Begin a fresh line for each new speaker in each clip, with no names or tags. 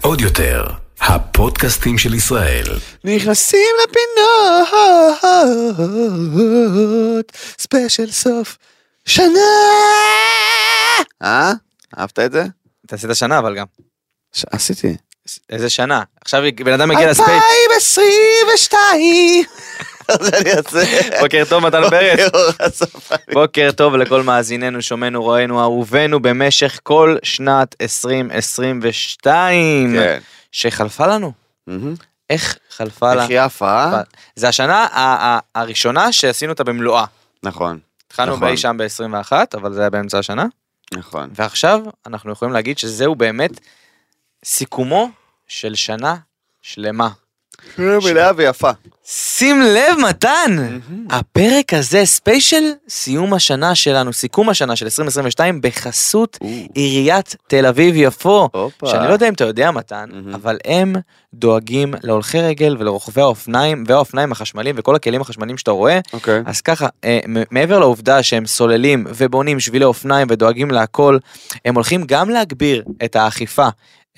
עוד יותר, הפודקאסטים של ישראל.
נכנסים לפינות, ספיישל סוף שנה! אה? אהבת את זה?
תעשה את השנה אבל גם.
ש- עשיתי.
איזה שנה? עכשיו בן אדם מגיע לספייס.
2022! זה אני אעשה.
בוקר טוב מתן פרץ.
אור אסף.
בוקר טוב לכל מאזיננו, שומענו, רואינו, אהובינו במשך כל שנת 2022
כן.
שחלפה לנו.
מהמם.
איך חלפה לה?
איך כן. יפה, אה?
זה השנה ה- ה- הראשונה שעשינו אותה במלואה.
נכון,
התחלנו
נכון.
באי שם ב-21, אבל זה היה באמצע השנה.
נכון.
ועכשיו אנחנו יכולים להגיד שזהו באמת סיכומו של שנה שלמה.
מלאה ויפה.
שים לב מתן, הפרק הזה ספיישל סיום השנה שלנו, סיכום השנה של 2022 בחסות עיריית תל אביב יפו.
הופה.
אה, שאני לא יודע אם אתה יודע מתן,
מהמם.
אבל הם דואגים להולכי רגל ולרוכבי האופניים והאופניים החשמליים וכל הכלים החשמליים שאתה רואה.
אוקיי.
אז ככה, אה, מ- מעבר לעובדה שהם סוללים ובונים שבילי אופניים ודואגים להכל, הם הולכים גם להגביר את האכיפה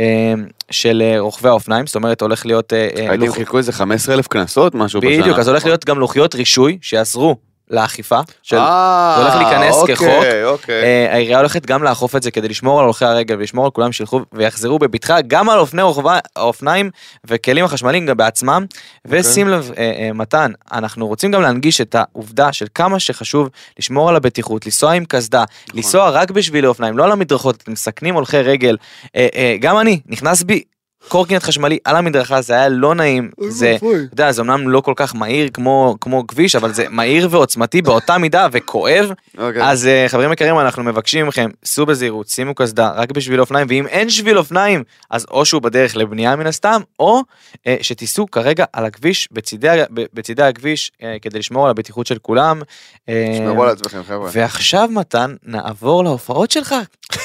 אה, של אה, רוכבי האופניים, זאת אומרת הולך להיות... אה, אה,
הייתם
לוח-
חילקו איזה 15 אלף קנסות משהו בשנה.
בדיוק, אז הולך להיות גם לוחיות רישוי שיעזרו לאכיפה. של...
אה,
זה הולך להיכנס
אוקיי,
כחוק.
אוקיי.
אה, העירייה הולכת גם לאכוף את זה כדי לשמור על הולכי הרגל ולשמור על כולם שילכו ויחזרו בבטחה גם על אופני רוכבי- האופניים וכלים החשמליים גם בעצמם.
אוקיי.
ושים לב אה, אה, מתן אנחנו רוצים גם להנגיש את העובדה של כמה שחשוב לשמור על הבטיחות לנסוע עם קסדה
נכון.
לנסוע רק בשבילי אופניים לא על המדרכות אתם מסכנים הולכי רגל אה, אה, גם אני נכנס בי. קורקינט חשמלי על המדרכה זה היה לא נעים זה אתה יודע, זה אמנם לא כל כך מהיר כמו, כמו כביש, אבל זה מהיר ועוצמתי באותה מידה וכואב.
אוקיי.
אז אה, חברים יקרים, אנחנו מבקשים מכם, סעו בזהירות, שימו קסדה רק בשביל אופניים, ואם אין שביל אופניים, אז או שהוא בדרך לבנייה מן הסתם, או אה, שתיסעו כרגע על הכביש, בצידי, ה- ב- בצידי הכביש, אה, כדי לשמור על הבטיחות של כולם. אה,
תשמרו על עצמכם חבר'ה.
ועכשיו מתן, נעבור להופעות שלך.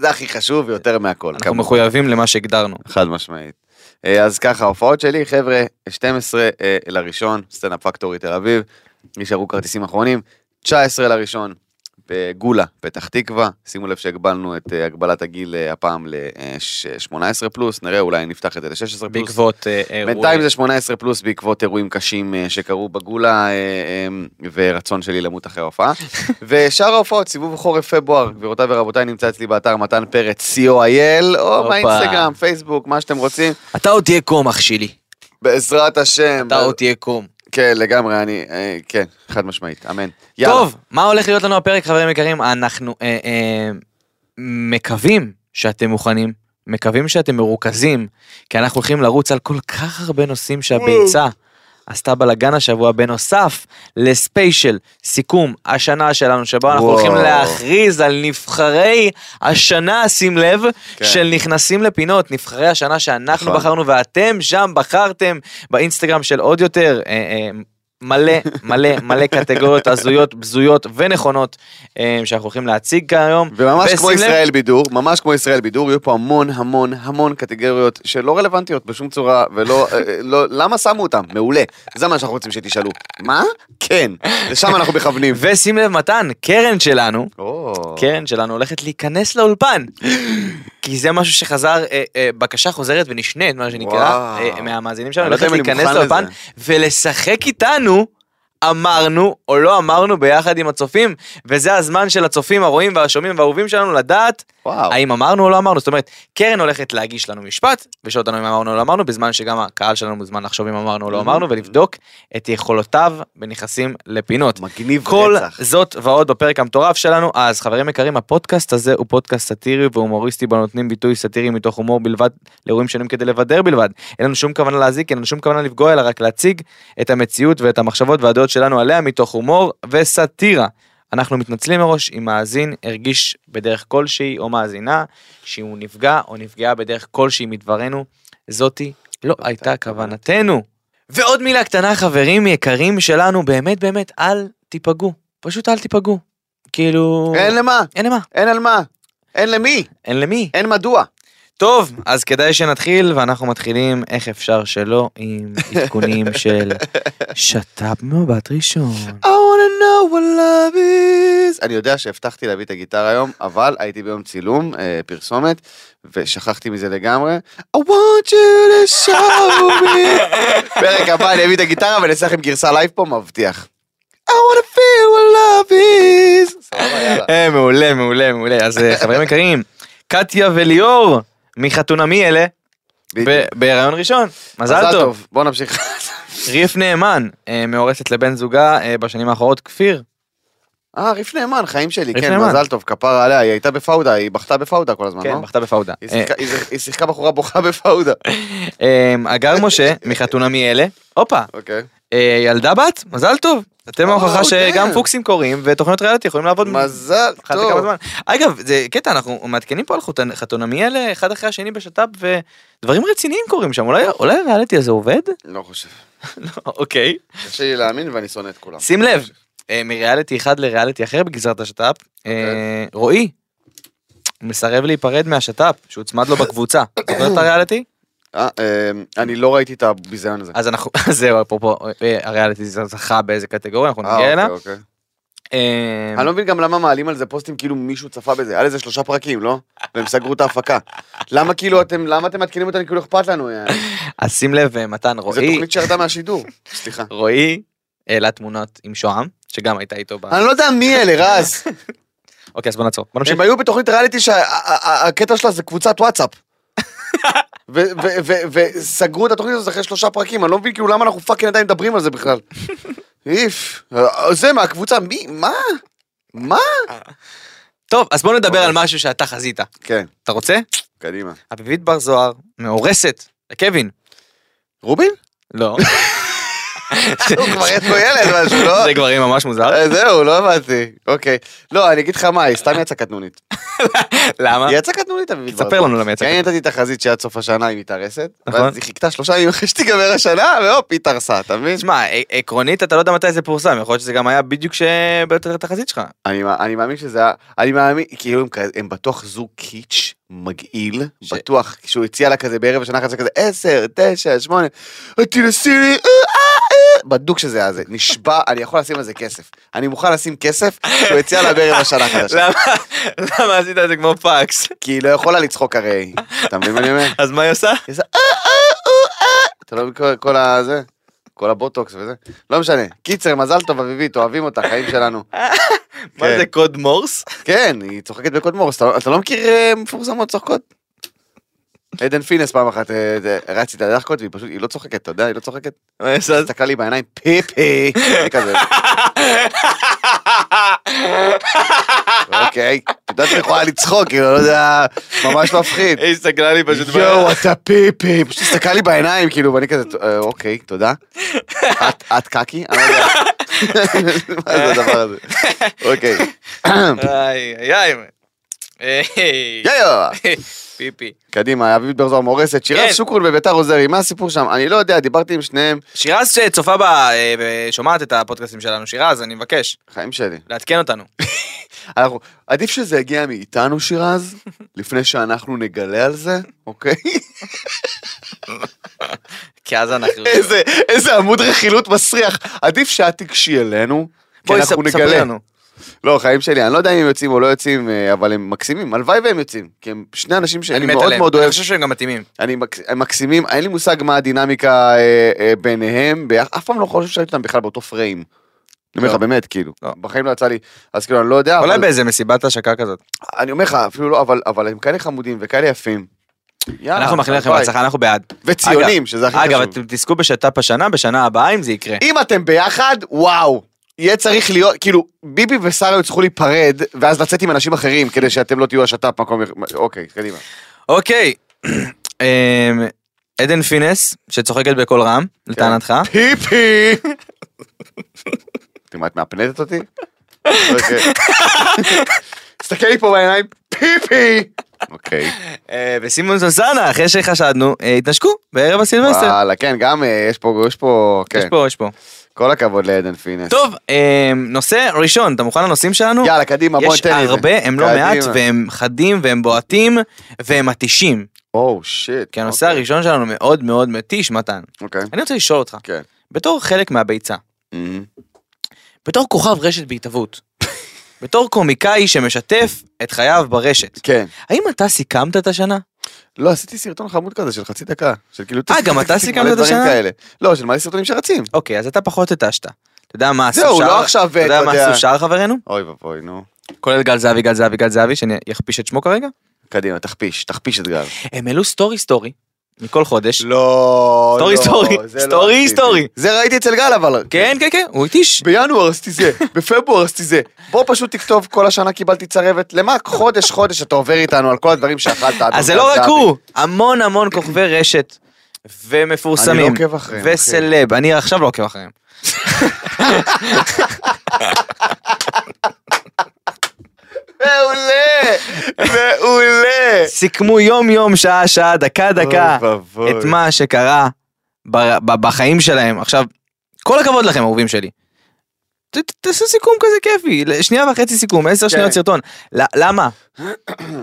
זה הכי חשוב יותר מהכל.
אנחנו
כמובן.
מחויבים למה שהגדרנו.
חד משמעית. אה, אז ככה, ההופעות שלי, חבר'ה, 12 אה, לראשון, סצנה פקטורי תל אביב, נשארו כרטיסים אחרונים, 19 לראשון, בגולה, פתח תקווה, שימו לב שהגבלנו את אה, הגבלת הגיל אה, הפעם ל-18 פלוס, נראה אולי נפתח את זה ל-16 פלוס.
בעקבות אה, אירוע.
בינתיים זה 18 פלוס בעקבות אירועים קשים אה, שקרו בגולה אה, אה, ורצון שלי למות אחרי ההופעה. ושאר ההופעות, סיבוב חורף פברואר, גבירותיי ורבותיי, נמצא אצלי באתר מתן פרץ, co.il, או
הופה.
באינסטגרם, פייסבוק, מה שאתם רוצים.
אתה עוד תהיה קום אח שלי.
בעזרת השם.
אתה עוד תהיה קום.
כן, לגמרי, אני, אה, כן, חד משמעית, אמן. יאללה.
טוב, מה הולך להיות לנו הפרק, חברים יקרים? אנחנו אה, אה, מקווים שאתם מוכנים, מקווים שאתם מרוכזים, כי אנחנו הולכים לרוץ על כל כך הרבה נושאים שהביצה עשתה בלאגן השבוע, בנוסף לספיישל סיכום השנה שלנו, שבו אנחנו
וואו.
הולכים להכריז על נבחרי השנה, שים לב,
כן.
של נכנסים לפינות, נבחרי השנה שאנחנו
נכון.
בחרנו ואתם שם בחרתם באינסטגרם של עוד יותר. אה, אה, מלא מלא מלא קטגוריות הזויות, בזויות ונכונות אה, שאנחנו הולכים להציג כאן היום.
וממש
ושים
כמו
לב-
ישראל בידור, ממש כמו ישראל בידור, יהיו פה המון המון המון קטגוריות שלא רלוונטיות בשום צורה, ולא, אה, אה, לא, למה שמו אותם? מעולה. זה מה שאנחנו רוצים שתשאלו. מה? כן. לשם אנחנו מכוונים.
ושים לב מתן, קרן שלנו,
או.
קרן שלנו הולכת להיכנס לאולפן. כי זה משהו שחזר, אה, אה, בקשה חוזרת ונשנית, מה שנקרא,
וואו.
אה, מהמאזינים שלנו,
אני לא יודע
הולכת
אם אני
להיכנס
מוכן
לאולפן ולשחק איתנו. אמרנו או לא אמרנו ביחד עם הצופים, וזה הזמן של הצופים, הרואים והשומעים והאהובים שלנו לדעת
וואו.
האם אמרנו או לא אמרנו, זאת אומרת, קרן הולכת להגיש לנו משפט, ושואל אותנו אם אמרנו או לא אמרנו, בזמן שגם הקהל שלנו מוזמן לחשוב אם אמרנו או לא אמרנו, ולבדוק את יכולותיו בנכסים לפינות.
מגניב
כל
רצח.
זאת ועוד בפרק המטורף שלנו. אז חברים יקרים, הפודקאסט הזה הוא פודקאסט סאטירי והומוריסטי, בו נותנים ביטוי סאטירי מתוך הומור בלבד לאירועים שונים כדי לבדר בלבד. אין לנו שום כוונה להזיק, אין לנו שום כוונה לפגוע, אלא רק להציג את המציאות ואת המחשבות והדעות שלנו עליה מתוך הומור וסאטירה. אנחנו מתנצלים מראש אם מאזין הרגיש בדרך כלשהי או מאזינה שהוא נפגע או נפגעה בדרך כלשהי מדברנו. זאתי לא הייתה כוונתנו. ועוד מילה קטנה, חברים יקרים שלנו, באמת באמת, אל תיפגעו. פשוט אל תיפגעו. כאילו...
אין למה,
אין למה.
אין על מה, אין למי,
אין למי.
אין מדוע.
טוב, אז כדאי שנתחיל, ואנחנו מתחילים, איך אפשר שלא, עם עדכונים של שת"פ מבט ראשון.
I wanna know what love is. אני יודע שהבטחתי להביא את הגיטרה היום, אבל הייתי ביום צילום, אה, פרסומת, ושכחתי מזה לגמרי. I want you to show me. פרק הבא אני אביא את הגיטרה ואני אעשה לכם גרסה לייב פה, מבטיח. I wanna feel what love is. סבבה, יאללה.
אה, מעולה, מעולה, מעולה. אז אה, חברים יקרים, קטיה וליאור, מחתונה מי אלה?
בדיוק.
ב- בהיריון ראשון, מזל טוב.
בוא נמשיך.
ריף נאמן, אה, מאורסת לבן זוגה אה, בשנים האחרונות, כפיר.
אה, ריף נאמן, חיים שלי,
ריף
כן,
נאמן.
מזל טוב, כפרה עליה, היא הייתה בפאודה, היא בכתה בפאודה כל הזמן, לא?
כן, בכתה אה. בפאודה.
היא שיחקה- היא היא שיחקה בחורה בוכה בפאודה.
אה, אה, הגר משה, מחתונה מי אלה? הופה,
אוקיי.
אה, ילדה בת, מזל טוב. אתם
Oh,
ההוכחה שגם
damn.
פוקסים קוראים ותוכניות ריאליטי יכולים לעבוד
מזל
אחת לכמה
טוב.
זמן. אגב, זה קטע, אנחנו מעדכנים פה על חותנ- חתונמי אלה אחד אחרי השני בשת"פ ודברים רציניים קורים שם, אולי אולי הריאליטי הזה עובד?
לא חושב.
לא, אוקיי.
קשה לי להאמין ואני שונא את כולם.
שים לב, אה, מריאליטי אחד לריאליטי אחר בגזרת השת"פ, אה, רועי מסרב להיפרד מהשת"פ שהוצמד לו בקבוצה. זוכר את הריאליטי?
אה, אה, אני לא ראיתי את הביזיון הזה.
אז אנחנו, אז זהו, אפרופו, אה, הריאליטי זה זכה באיזה קטגוריה, אנחנו
אה,
נגיע אליה.
אוקיי, אוקיי.
אה,
אני לא מבין גם למה מעלים על זה פוסטים כאילו מישהו צפה בזה, היה לזה שלושה פרקים, לא? והם סגרו את ההפקה. למה כאילו אתם, למה אתם מתקינים אותנו כאילו אכפת לנו? אה?
אז שים לב, אה, מתן,
זו
רועי,
תוכנית שירדה מהשידור, סליחה.
רועי העלה תמונות עם שוהם, שגם הייתה איתו ב...
אני לא יודע מי אלה, רז.
אוקיי, אז בוא נעצור. בוא נמשיך.
הם היו בתוכנית ריאליטי שהקטע שלה זה קבוצת וואטסאפ. ו- ו- ו- וסגרו את התוכנית הזאת אחרי שלושה פרקים, אני לא מבין כאילו למה אנחנו פאקינג עדיין מדברים על זה בכלל. איף, אה, זה מהקבוצה, מי, מה? מה?
טוב, אז בוא נדבר
אוקיי.
על משהו שאתה חזית.
כן,
אתה רוצה?
קדימה.
אביבית בר זוהר מאורסת לקווין.
רובין?
לא.
הוא כבר יש לו ילד משהו, לא?
זה כבר יהיה ממש מוזר.
אה, זהו, לא הבנתי. אוקיי. לא, אני אגיד לך מה, היא סתם יצאה קטנונית.
למה?
היא יצאה קטנונית, אביבית.
תספר
ברדו.
לנו למה יצא
כי אני נתתי תחזית שעד סוף השנה היא מתארסת,
נכון.
ואז היא חיכתה שלושה ימים אחרי שתיגמר השנה, והופ, היא התארסה, אתה מבין?
תשמע, ע- עקרונית אתה לא יודע מתי זה פורסם, יכול להיות שזה גם היה בדיוק שבתחזית שלך.
אני, מא- אני מאמין שזה היה, אני מאמין, כאילו הם, כ- הם בטוח זוג קיץ' מגעיל,
ש-
ש... בטוח, כשהוא הציע לה כזה בערב השנה אחת, זה כזה עשר, תשע, שמונה, "אה, תנסי לי, אה, אה, אה", בדוק שזה היה זה, נשבע, אני יכול לשים על זה כסף, אני מוכן לשים כסף, שהוא הציע לה בערב השנה החדשה,
למה עשית את זה כמו פקס?
כי היא לא יכולה לצחוק הרי, אתה מבין מה אני אומר?
אז מה היא עושה?
היא עושה, "אה, אה, אה, אה". אתה לא מבין כל- כל הזה, כל הבוטוקס וזה, לא משנה, קיצר, מזל טוב אביבית, אוהבים אותך, חיים שלנו,
מה
כן.
זה קוד מורס?
כן, היא צוחקת בקוד מורס, אתה, אתה לא מכיר אה, מפורסמות צוחקות? עדן פינס פעם אחת אה, זה, רצתי את הדחקות והיא פשוט, היא לא צוחקת, אתה יודע, היא לא צוחקת.
מה היא עושה?
הסתכלה לי בעיניים, פי פי, אני כזה, אוקיי, את יודעת שאני יכולה לצחוק, כאילו, לא יודע, ממש מפחיד.
היא הסתכלה לי פשוט.
יואו, אתה פי פי, פשוט הסתכלה לי בעיניים, כאילו, ואני כזה, "אה, אוקיי, תודה. את- את קקי? אני לא יודע. מה זה הדבר הזה? אוקיי.
איי, איי, איי. היי.
יואו.
פיפי.
קדימה, אביב בר זוהר מאורסת, שירז
כן.
שוקרון וביתר עוזרי, מה הסיפור שם? אני לא יודע, דיברתי עם שניהם,
שירז שצופה ב... אה, ב- שומעת את הפודקאסטים שלנו, שירז, אני מבקש,
חיים שלי.
לעדכן אותנו.
אנחנו, עדיף שזה יגיע מאיתנו, שירז, לפני שאנחנו נגלה על זה, אוקיי?
כי אז אנחנו...
איזה, איזה עמוד רכילות מסריח. עדיף שאת תיגשי אלינו, כי
בואי,
אנחנו
ספ- ספרי
נגלה.
לנו.
לא, חיים שלי, אני לא יודע אם הם יוצאים או לא יוצאים, אה, אבל הם מקסימים, הלוואי והם יוצאים, כי הם שני אנשים שאני
אני מת
מאוד
עליהם.
מאוד אוהב.
אני חושב שהם גם מתאימים.
אני מקס- הם מקסימים, אין לי מושג מה הדינמיקה אה, אה, ביניהם, ביח- אף פעם לא חושב שהייתי אותם בכלל באותו פריים. אני אומר לך,
לא.
באמת, כאילו,
לא.
בחיים לא יצא לי, אז כאילו, אני לא יודע,
אולי
אבל
באיזה מסיבת השקה כזאת.
אני אומר לך, אפילו לא, אבל- אבל הם כאלה חמודים וכאלה יפים. יאללה,
אנחנו מאחלים לכם
הלוואי.
בהצלחה, אנחנו בעד.
וציונים, שזה הכי
אגב,
חשוב.
אתם תזכו בשת"פ השנה, בשנה הבאה, אם זה יקרה.
אם אתם ביחד, וואו. יהיה צריך להיות, כאילו, ביבי ושרה יצטרכו להיפרד, ואז לצאת עם אנשים אחרים, כדי שאתם לא תהיו השת"פ מקום, יח- אוקיי, קדימה.
אוקיי. אמ, עדן פינס, שצוחקת בקול רם,
כן.
לטענתך.
פיפי! אתם מה, את מהפנטת אותי? אוקיי. תסתכל לי פה בעיניים, פיפי! אוקיי.
אה, וסימון סוסנה, אחרי שחשדנו, אה, התנשקו בערב הסילבסטר.
וואלה, כן, גם אה, יש פה, יש פה,
יש
כן.
פה, יש פה.
כל הכבוד לעדן פינס.
טוב, אמ, נושא ראשון, אתה מוכן לנושאים שלנו?
יאללה, קדימה, בוא
יש לא
ניתן לי. את זה.
הרבה, הם לא
קדימה.
מעט, והם חדים, והם בועטים, והם מתישים.
או, שיט.
כי הנושא כן, הראשון שלנו מאוד מאוד מתיש, מתן.
אוקיי.
אני רוצה לשאול אותך,
כן. Mm-hmm.
בתור חלק מהביצה,
מהמם.
בתור כוכב רשת בהתהוות, בתור קומיקאי שמשתף את חייו ברשת,
כן.
האם אתה סיכמת את השנה?
לא, עשיתי סרטון חמוד כזה של חצי דקה. של כאילו...
אה, גם אתה סיכמת
מלא
את
דברים
השנה?
כאלה. לא, של מלא סרטונים שרצים.
אוקיי, אז אתה פחות התשת. אתה יודע מה עשו
זהו,
שאר...
לא עכשיו,
אתה יודע
אתה
מה
יודע.
עשו שאר חברינו?
אוי ואבוי, נו.
כולל גל זהבי, גל זהבי, גל זהבי, שאני אכפיש את שמו כרגע?
קדימה, תכפיש, תכפיש את גל.
הם העלו סטורי סטורי, מכל חודש.
לא,
סטורי, סטורי,
זה לא
סטורי,
עשיתי.
סטורי.
זה ראיתי אצל גל אבל.
כן, כן, כן, הוא התיש.
בינואר עשיתי זה, בפברואר עשיתי זה. בוא פשוט תכתוב כל השנה קיבלתי צרבת. למה חודש חודש אתה עובר איתנו על כל הדברים שאכלת. עד
אז זה
אוכל
לא רק
זהבי.
הוא, המון המון כוכבי רשת
אני לא
ומפורסמים
עוקב אחריהם. אחי.
וסלב, אני עכשיו לא עוקב אחריהם.
מעולה! מעולה!
סיכמו יום יום, שעה שעה, דקה דקה,
אה. אוי ואבוי.
את מה שקרה ב- ב- בחיים שלהם. עכשיו, כל הכבוד לכם אהובים שלי. ת- ת- תעשו סיכום כזה כיפי, ל- שנייה וחצי סיכום,
כן.
עשר שניות סרטון. ל- למה? אנ-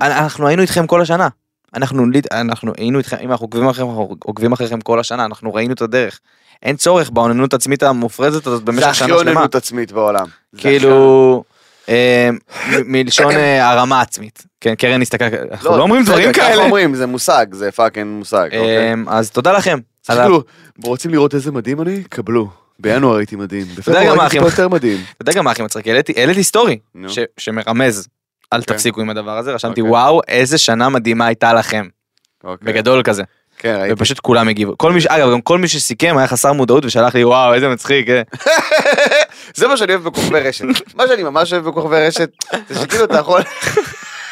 אנחנו היינו איתכם כל השנה. אנחנו ליד- אנחנו היינו איתכם, אם אנחנו עוקבים אחריכם, אנחנו עוקבים אחריכם כל השנה, אנחנו ראינו את הדרך. אין צורך באוננות העצמית המופרזת הזאת
זה
במשך
הכי
שנה שלמה.
אוננות עצמית בעולם. זה הכי-
כאילו, אה, מ- מלשון אה, הרמה עצמית. כן, קרן הסתכלה, אנחנו לא אומרים
בסדר,
דברים
ככה
כאלה.
אומרים, זה מושג, זה פאקינג מושג. אוקיי.
אה, אז תודה לכם. על ה-
כאילו, רוצים לראות איזה מדהים אני? קבלו. בינואר הייתי מדהים,
יודע גם
בפברואר
מה,
הייתי
אחי?
פה יותר מדהים.
אתה יודע גם מה הכי מצחיק, העליתי- העליתי סטורי
נו.
ש- שמרמז, אל
אוקיי.
תפסיקו עם הדבר הזה, רשמתי
אוקיי.
וואו, איזה שנה מדהימה הייתה לכם,
אוקיי.
בגדול כזה,
כן, ראיתי.
ופשוט כולם הגיבו, כל מי ש... אגב, גם כל מי שסיכם היה חסר מודעות ושלח לי וואו, איזה מצחיק, אה."
זה מה שאני אוהב בכוכבי רשת. מה שאני ממש אוהב בכוכבי רשת, זה שכאילו אתה יכול...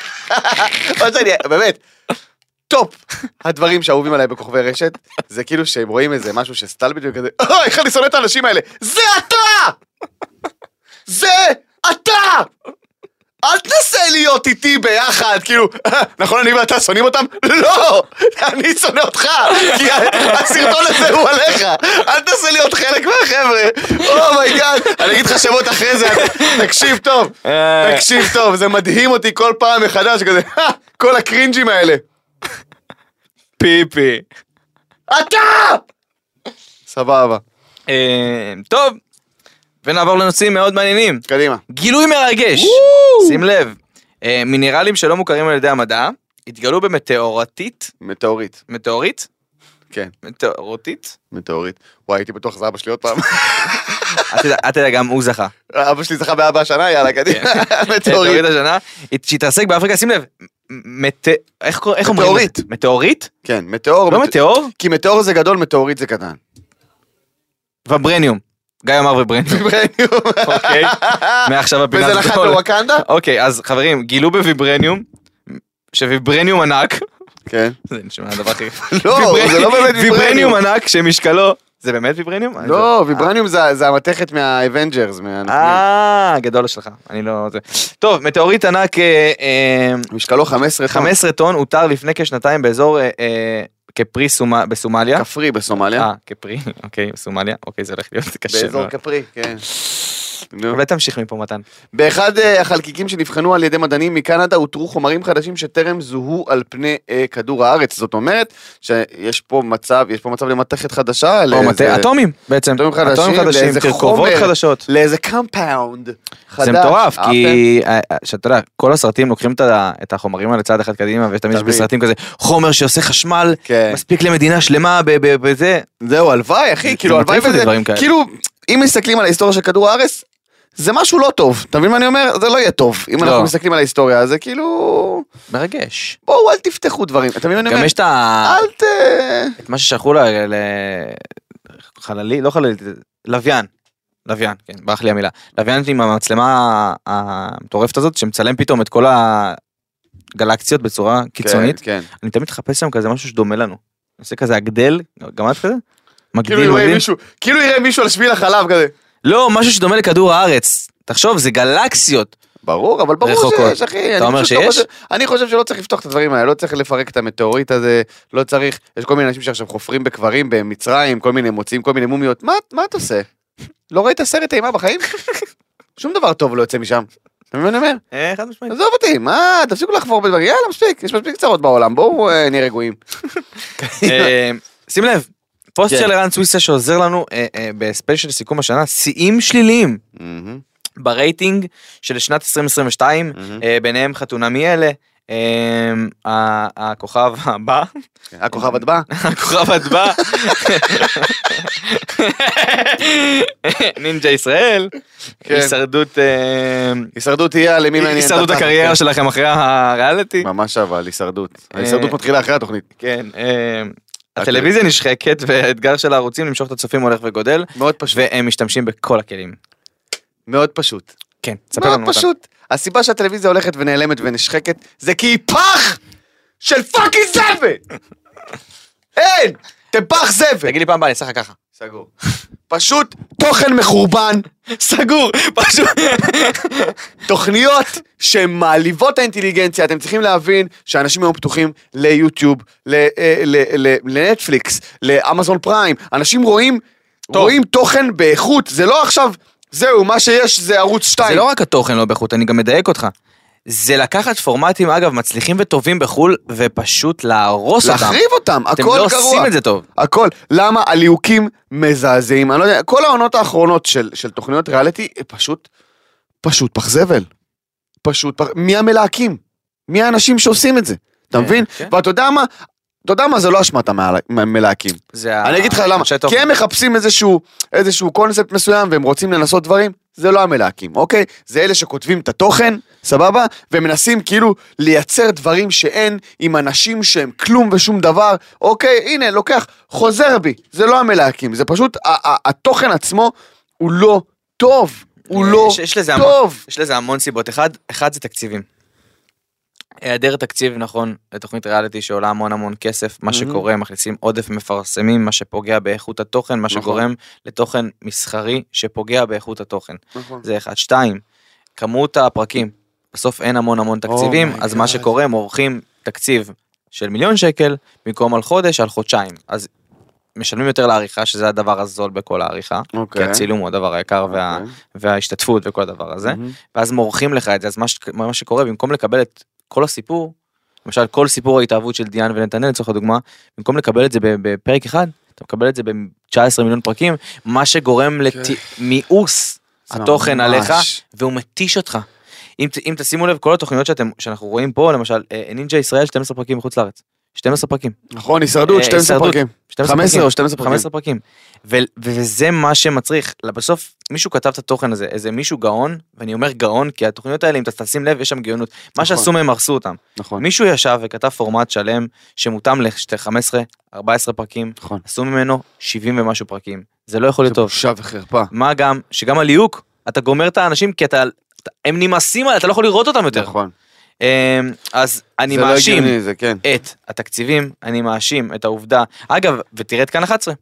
מה שאני, באמת, טופ הדברים שאהובים עליי בכוכבי רשת, זה כאילו שהם רואים איזה משהו שסטל בדיוק כזה, אוי, איך אני שונא את האנשים האלה, זה אתה! זה אתה! אל תנסה להיות איתי ביחד, כאילו, נכון אני ואתה שונאים אותם? לא! אני שונא אותך! כי הסרטון הזה הוא עליך! אל תנסה להיות חלק מהחבר'ה! אומייגאד! אני אגיד לך שמות אחרי זה, תקשיב טוב! תקשיב טוב, זה מדהים אותי כל פעם מחדש, כזה, "אה, כל הקרינג'ים האלה.
פיפי.
אתה! סבבה,
אה, טוב, ונעבור לנושאים מאוד מעניינים.
קדימה.
גילוי מרגש, שים לב, אה, מינרלים שלא מוכרים על ידי המדע, התגלו במטאורטית,
מטאורית,
מטאורית?
כן,
מטאורטית?
מטאורית. וואי, הייתי בטוח שזה אבא שלי עוד פעם.
אל תדע- אל תדע, גם הוא זכה.
אבא שלי זכה באבא השנה, יאללה, קדימה.
מטאורית
מטאורית.
השנה, שהתעסק באפריקה, שים לב, מט... איך, קור- איך אומרים?
מטאורית.
את זה? מטאורית?
כן, מטאור.
לא
מט-
מטאור?
כי מטאור זה גדול, מטאורית זה קטן.
וברניום. גיא אמר וברניום. אוקיי. מעכשיו הפינה
וזה
הזאת
נחת
הולכת.
לווקנדה?
אוקיי, אז חברים, גילו בוויברניום, שוויברניום ענק,
כן.
זה נשמע הדבר הכי...
לא,
ויבר-
זה לא באמת ויברניום.
ויברניום אה? ענק שמשקלו... זה באמת ויברניום? אני
לא, ויברניום זה- זה המתכת מהאבנג'רס. מהנוכלים.
אה, גדול שלך, אני לא... זה. טוב, מטאורית ענק אה, אה,
משקלו 15 טון.
15 טון הותר לפני כשנתיים באזור אה, אה, כפרי סומ- בסומליה.
כפרי בסומליה.
אה, כפרי, אוקיי, סומליה, אוקיי, זה הולך להיות קשה.
כן. באזור
מאוד.
כפרי, כן. נו.
אולי תמשיך מפה מתן.
באחד אה, החלקיקים שנבחנו על ידי מדענים מקנדה אותרו חומרים חדשים שטרם זוהו על פני אה, כדור הארץ. זאת אומרת שיש פה מצב, יש פה מצב למתכת חדשה.
או
לאיזה-
מטה- אטומים בעצם.
אטומים חדשים, לאיזה
תרכובות
חומר.
חדשות.
לאיזה קמפאונד חדש.
זה מטורף,
אהבתם?
כי אה, אה, שאתה יודע, כל הסרטים לוקחים את ה- את החומרים האלה צעד אחד קדימה, ותמיד יש
תמיד.
בסרטים כזה, חומר שעושה חשמל,
כן.
מספיק למדינה שלמה ב- ב- בזה.
זהו, הלוואי, אחי,
זה
כאילו,
מטריף
הלוואי
אותי
וזה,
דברים כאלה.
כאילו, אם מסתכלים על ההיסטוריה של כדור הארץ, זה משהו לא טוב, אתה מבין מה אני אומר? זה לא יהיה טוב. אם
לא.
אנחנו מסתכלים על ההיסטוריה, זה כאילו...
מרגש.
בואו, אל תפתחו דברים, אתה מבין מה אני
גם
אומר?
יש אה. את ה-
אל ת...
את מה ששלחו ל- ל- חללי, לא חללית, לוויין. לוויין, כן, ברח לי המילה. לוויין עם המצלמה המטורפת הזאת, שמצלם פתאום את כל הגלקסיות בצורה קיצונית.
כן, כן.
אני תמיד מחפש שם כזה משהו שדומה לנו. אני עושה כזה הגדל, גם את כזה?
כאילו
מגדיל,
יראה
מגדיל.
מישהו, כאילו יראה מישהו על שביל החלב כזה.
לא, משהו שדומה לכדור הארץ. תחשוב, זה גלקסיות.
ברור, אבל ברור
רחוקות.
שיש, אחי.
אתה
אני
אומר
פשוט לא
שיש?
חושב- אני חושב שלא צריך לפתוח את הדברים האלה, לא צריך לפרק את המטאוריט הזה, לא צריך, יש כל מיני אנשים שעכשיו חופרים בקברים במצרים, כל מיני מוצאים, כל מיני מומיות, מה מה אתה עושה? לא ראית סרט אימה בחיים? שום דבר טוב לא יוצא משם. אתה מבין מה אני אומר?
אה, חד משמעית.
עזוב אותי, מה, תפסיקו לחפור בדברים, יאללה, מספיק, יש מספיק צרות בעולם, בואו אה, נהיה רגועים.
אה, שים לב, פוסט
כן.
של ערן סוויסה שעוזר לנו אה, אה, בספיישל סיכום השנה, שיאים שליליים
מהמם,
ברייטינג של שנת 2022,
מהמם.
אה, ביניהם חתונה מאלה. אה, ה- הכוכב הבא,
אה, הכוכב עד בא?
הכוכב הדבע, נינג'ה ישראל,
כן.
הישרדות אה,
הישרדות תהיה על מי מעניין. את
הישרדות
הפעם.
הקריירה שלכם אחרי הריאליטי.
ממש אבל, הישרדות. ההישרדות
אה.
מתחילה אחרי התוכנית.
כן, אה, הטלוויזיה נשחקת והאתגר של הערוצים למשוך את הצופים הולך וגודל,
מאוד פשוט.
והם משתמשים בכל הכלים.
מאוד פשוט.
כן, תספר
מאוד
לנו אותם.
פשוט. הסיבה שהטלוויזיה הולכת ונעלמת ונשחקת זה כי היא פח של פאקינג זבל! אין! אתם פח זבל!
תגיד לי פעם הבאה, אני אעשה לך ככה.
סגור. פשוט תוכן מחורבן,
סגור, פשוט.
תוכניות שמעליבות את האינטליגנציה, אתם צריכים להבין שאנשים היום פתוחים ליוטיוב, ל- אה, ל- ל- לנטפליקס, לאמזון פריים, אנשים רואים,
טוב.
רואים תוכן באיכות, זה לא עכשיו, זהו, מה שיש זה ערוץ 2.
זה לא רק התוכן לא באיכות, אני גם מדייק אותך. זה לקחת פורמטים, אגב, מצליחים וטובים בחו"ל, ופשוט להרוס אותם.
להחריב אותם, הכל
אתם
גרוע.
לא עושים את זה טוב.
הכל. למה הליהוקים מזעזעים? אני לא יודע, כל העונות האחרונות של, של תוכניות ריאליטי, אה, פשוט, פשוט פח זבל. פשוט פח... מי המלהקים? מי האנשים שעושים את זה? אתה
אה,
מבין?
כן.
ואתה יודע מה? אתה יודע מה? זה לא אשמת המעל- המלהקים.
זה
אני אגיד לך למה.
אנשי
כי
תוכן.
הם מחפשים איזשהו, איזשהו קונספט מסוים והם רוצים לנסות דברים, זה לא המלהקים, אוקיי? זה אלה שכותבים את התוכן, סבבה? ומנסים כאילו לייצר דברים שאין עם אנשים שהם כלום ושום דבר, אוקיי? הנה, לוקח, חוזר בי. זה לא המלהקים, זה פשוט, ה- ה- התוכן עצמו הוא לא טוב. הוא
אה,
לא
יש- יש לזה המון-
טוב.
יש לזה המון סיבות. אחד, אחד זה תקציבים. היעדר תקציב נכון לתוכנית ריאליטי שעולה המון המון כסף, מה
מהמם.
שקורה, מכניסים עודף מפרסמים, מה שפוגע באיכות התוכן, מה
נכון.
שגורם לתוכן מסחרי שפוגע באיכות התוכן.
נכון.
זה אחד. שתיים, כמות הפרקים. בסוף אין המון המון תקציבים,
my
oh אז מה
God.
שקורה, הם עורכים תקציב של מיליון שקל במקום על חודש, על חודשיים. אז משלמים יותר לעריכה, שזה הדבר הזול בכל העריכה.
אוקיי.
כי הצילום הוא הדבר היקר וה...
אוקיי.
וההשתתפות וכל הדבר הזה,
מהמם.
ואז מורחים לך את זה, אז מה, ש... מה שקורה, במקום לקבל את כל הסיפור, למשל כל סיפור ההתאהבות של דיאן ונתנאל לצורך הדוגמה, במקום לקבל את זה ב- בפרק אחד, אתה מקבל את זה ב-19 מיליון פרקים, מה שגורם למיאוס
כן. זה
התוכן
ממש-
עליך, והוא מתיש אותך. אם, ת- אם תשימו לב, כל התוכניות שאתם, שאנחנו רואים פה, למשל, אה, נינג'ה ישראל 12 פרקים מחוץ לארץ. 12 פרקים.
נכון, הישרדות,
אה,
12
הישרדות.
פרקים.
12
15
פרקים.
או 12 פרקים.
15 פרקים. ו- וזה מה שמצריך, בסוף מישהו כתב את התוכן הזה, איזה מישהו גאון, ואני אומר גאון, כי התוכניות האלה, אם אתה תשים לב, יש שם גאונות. מה
נכון.
שעשו מהם, הרסו אותם.
נכון.
מישהו ישב וכתב פורמט שלם, שמותאם ל-15-14 פרקים,
נכון.
עשו ממנו 70 ומשהו פרקים. זה לא יכול להיות טוב.
בושה וחרפה.
מה גם, שגם הליהוק, אתה גומר את האנשים, כי אתה, אתה- הם נמאסים עליי, אתה לא יכול לראות אותם יותר.
נכון.
אה, אז אני
זה לא
מאשים.
הגיוני, זה כן.
את התקציבים, אני מאשים את העובדה. אגב, ותראה את כאן 11.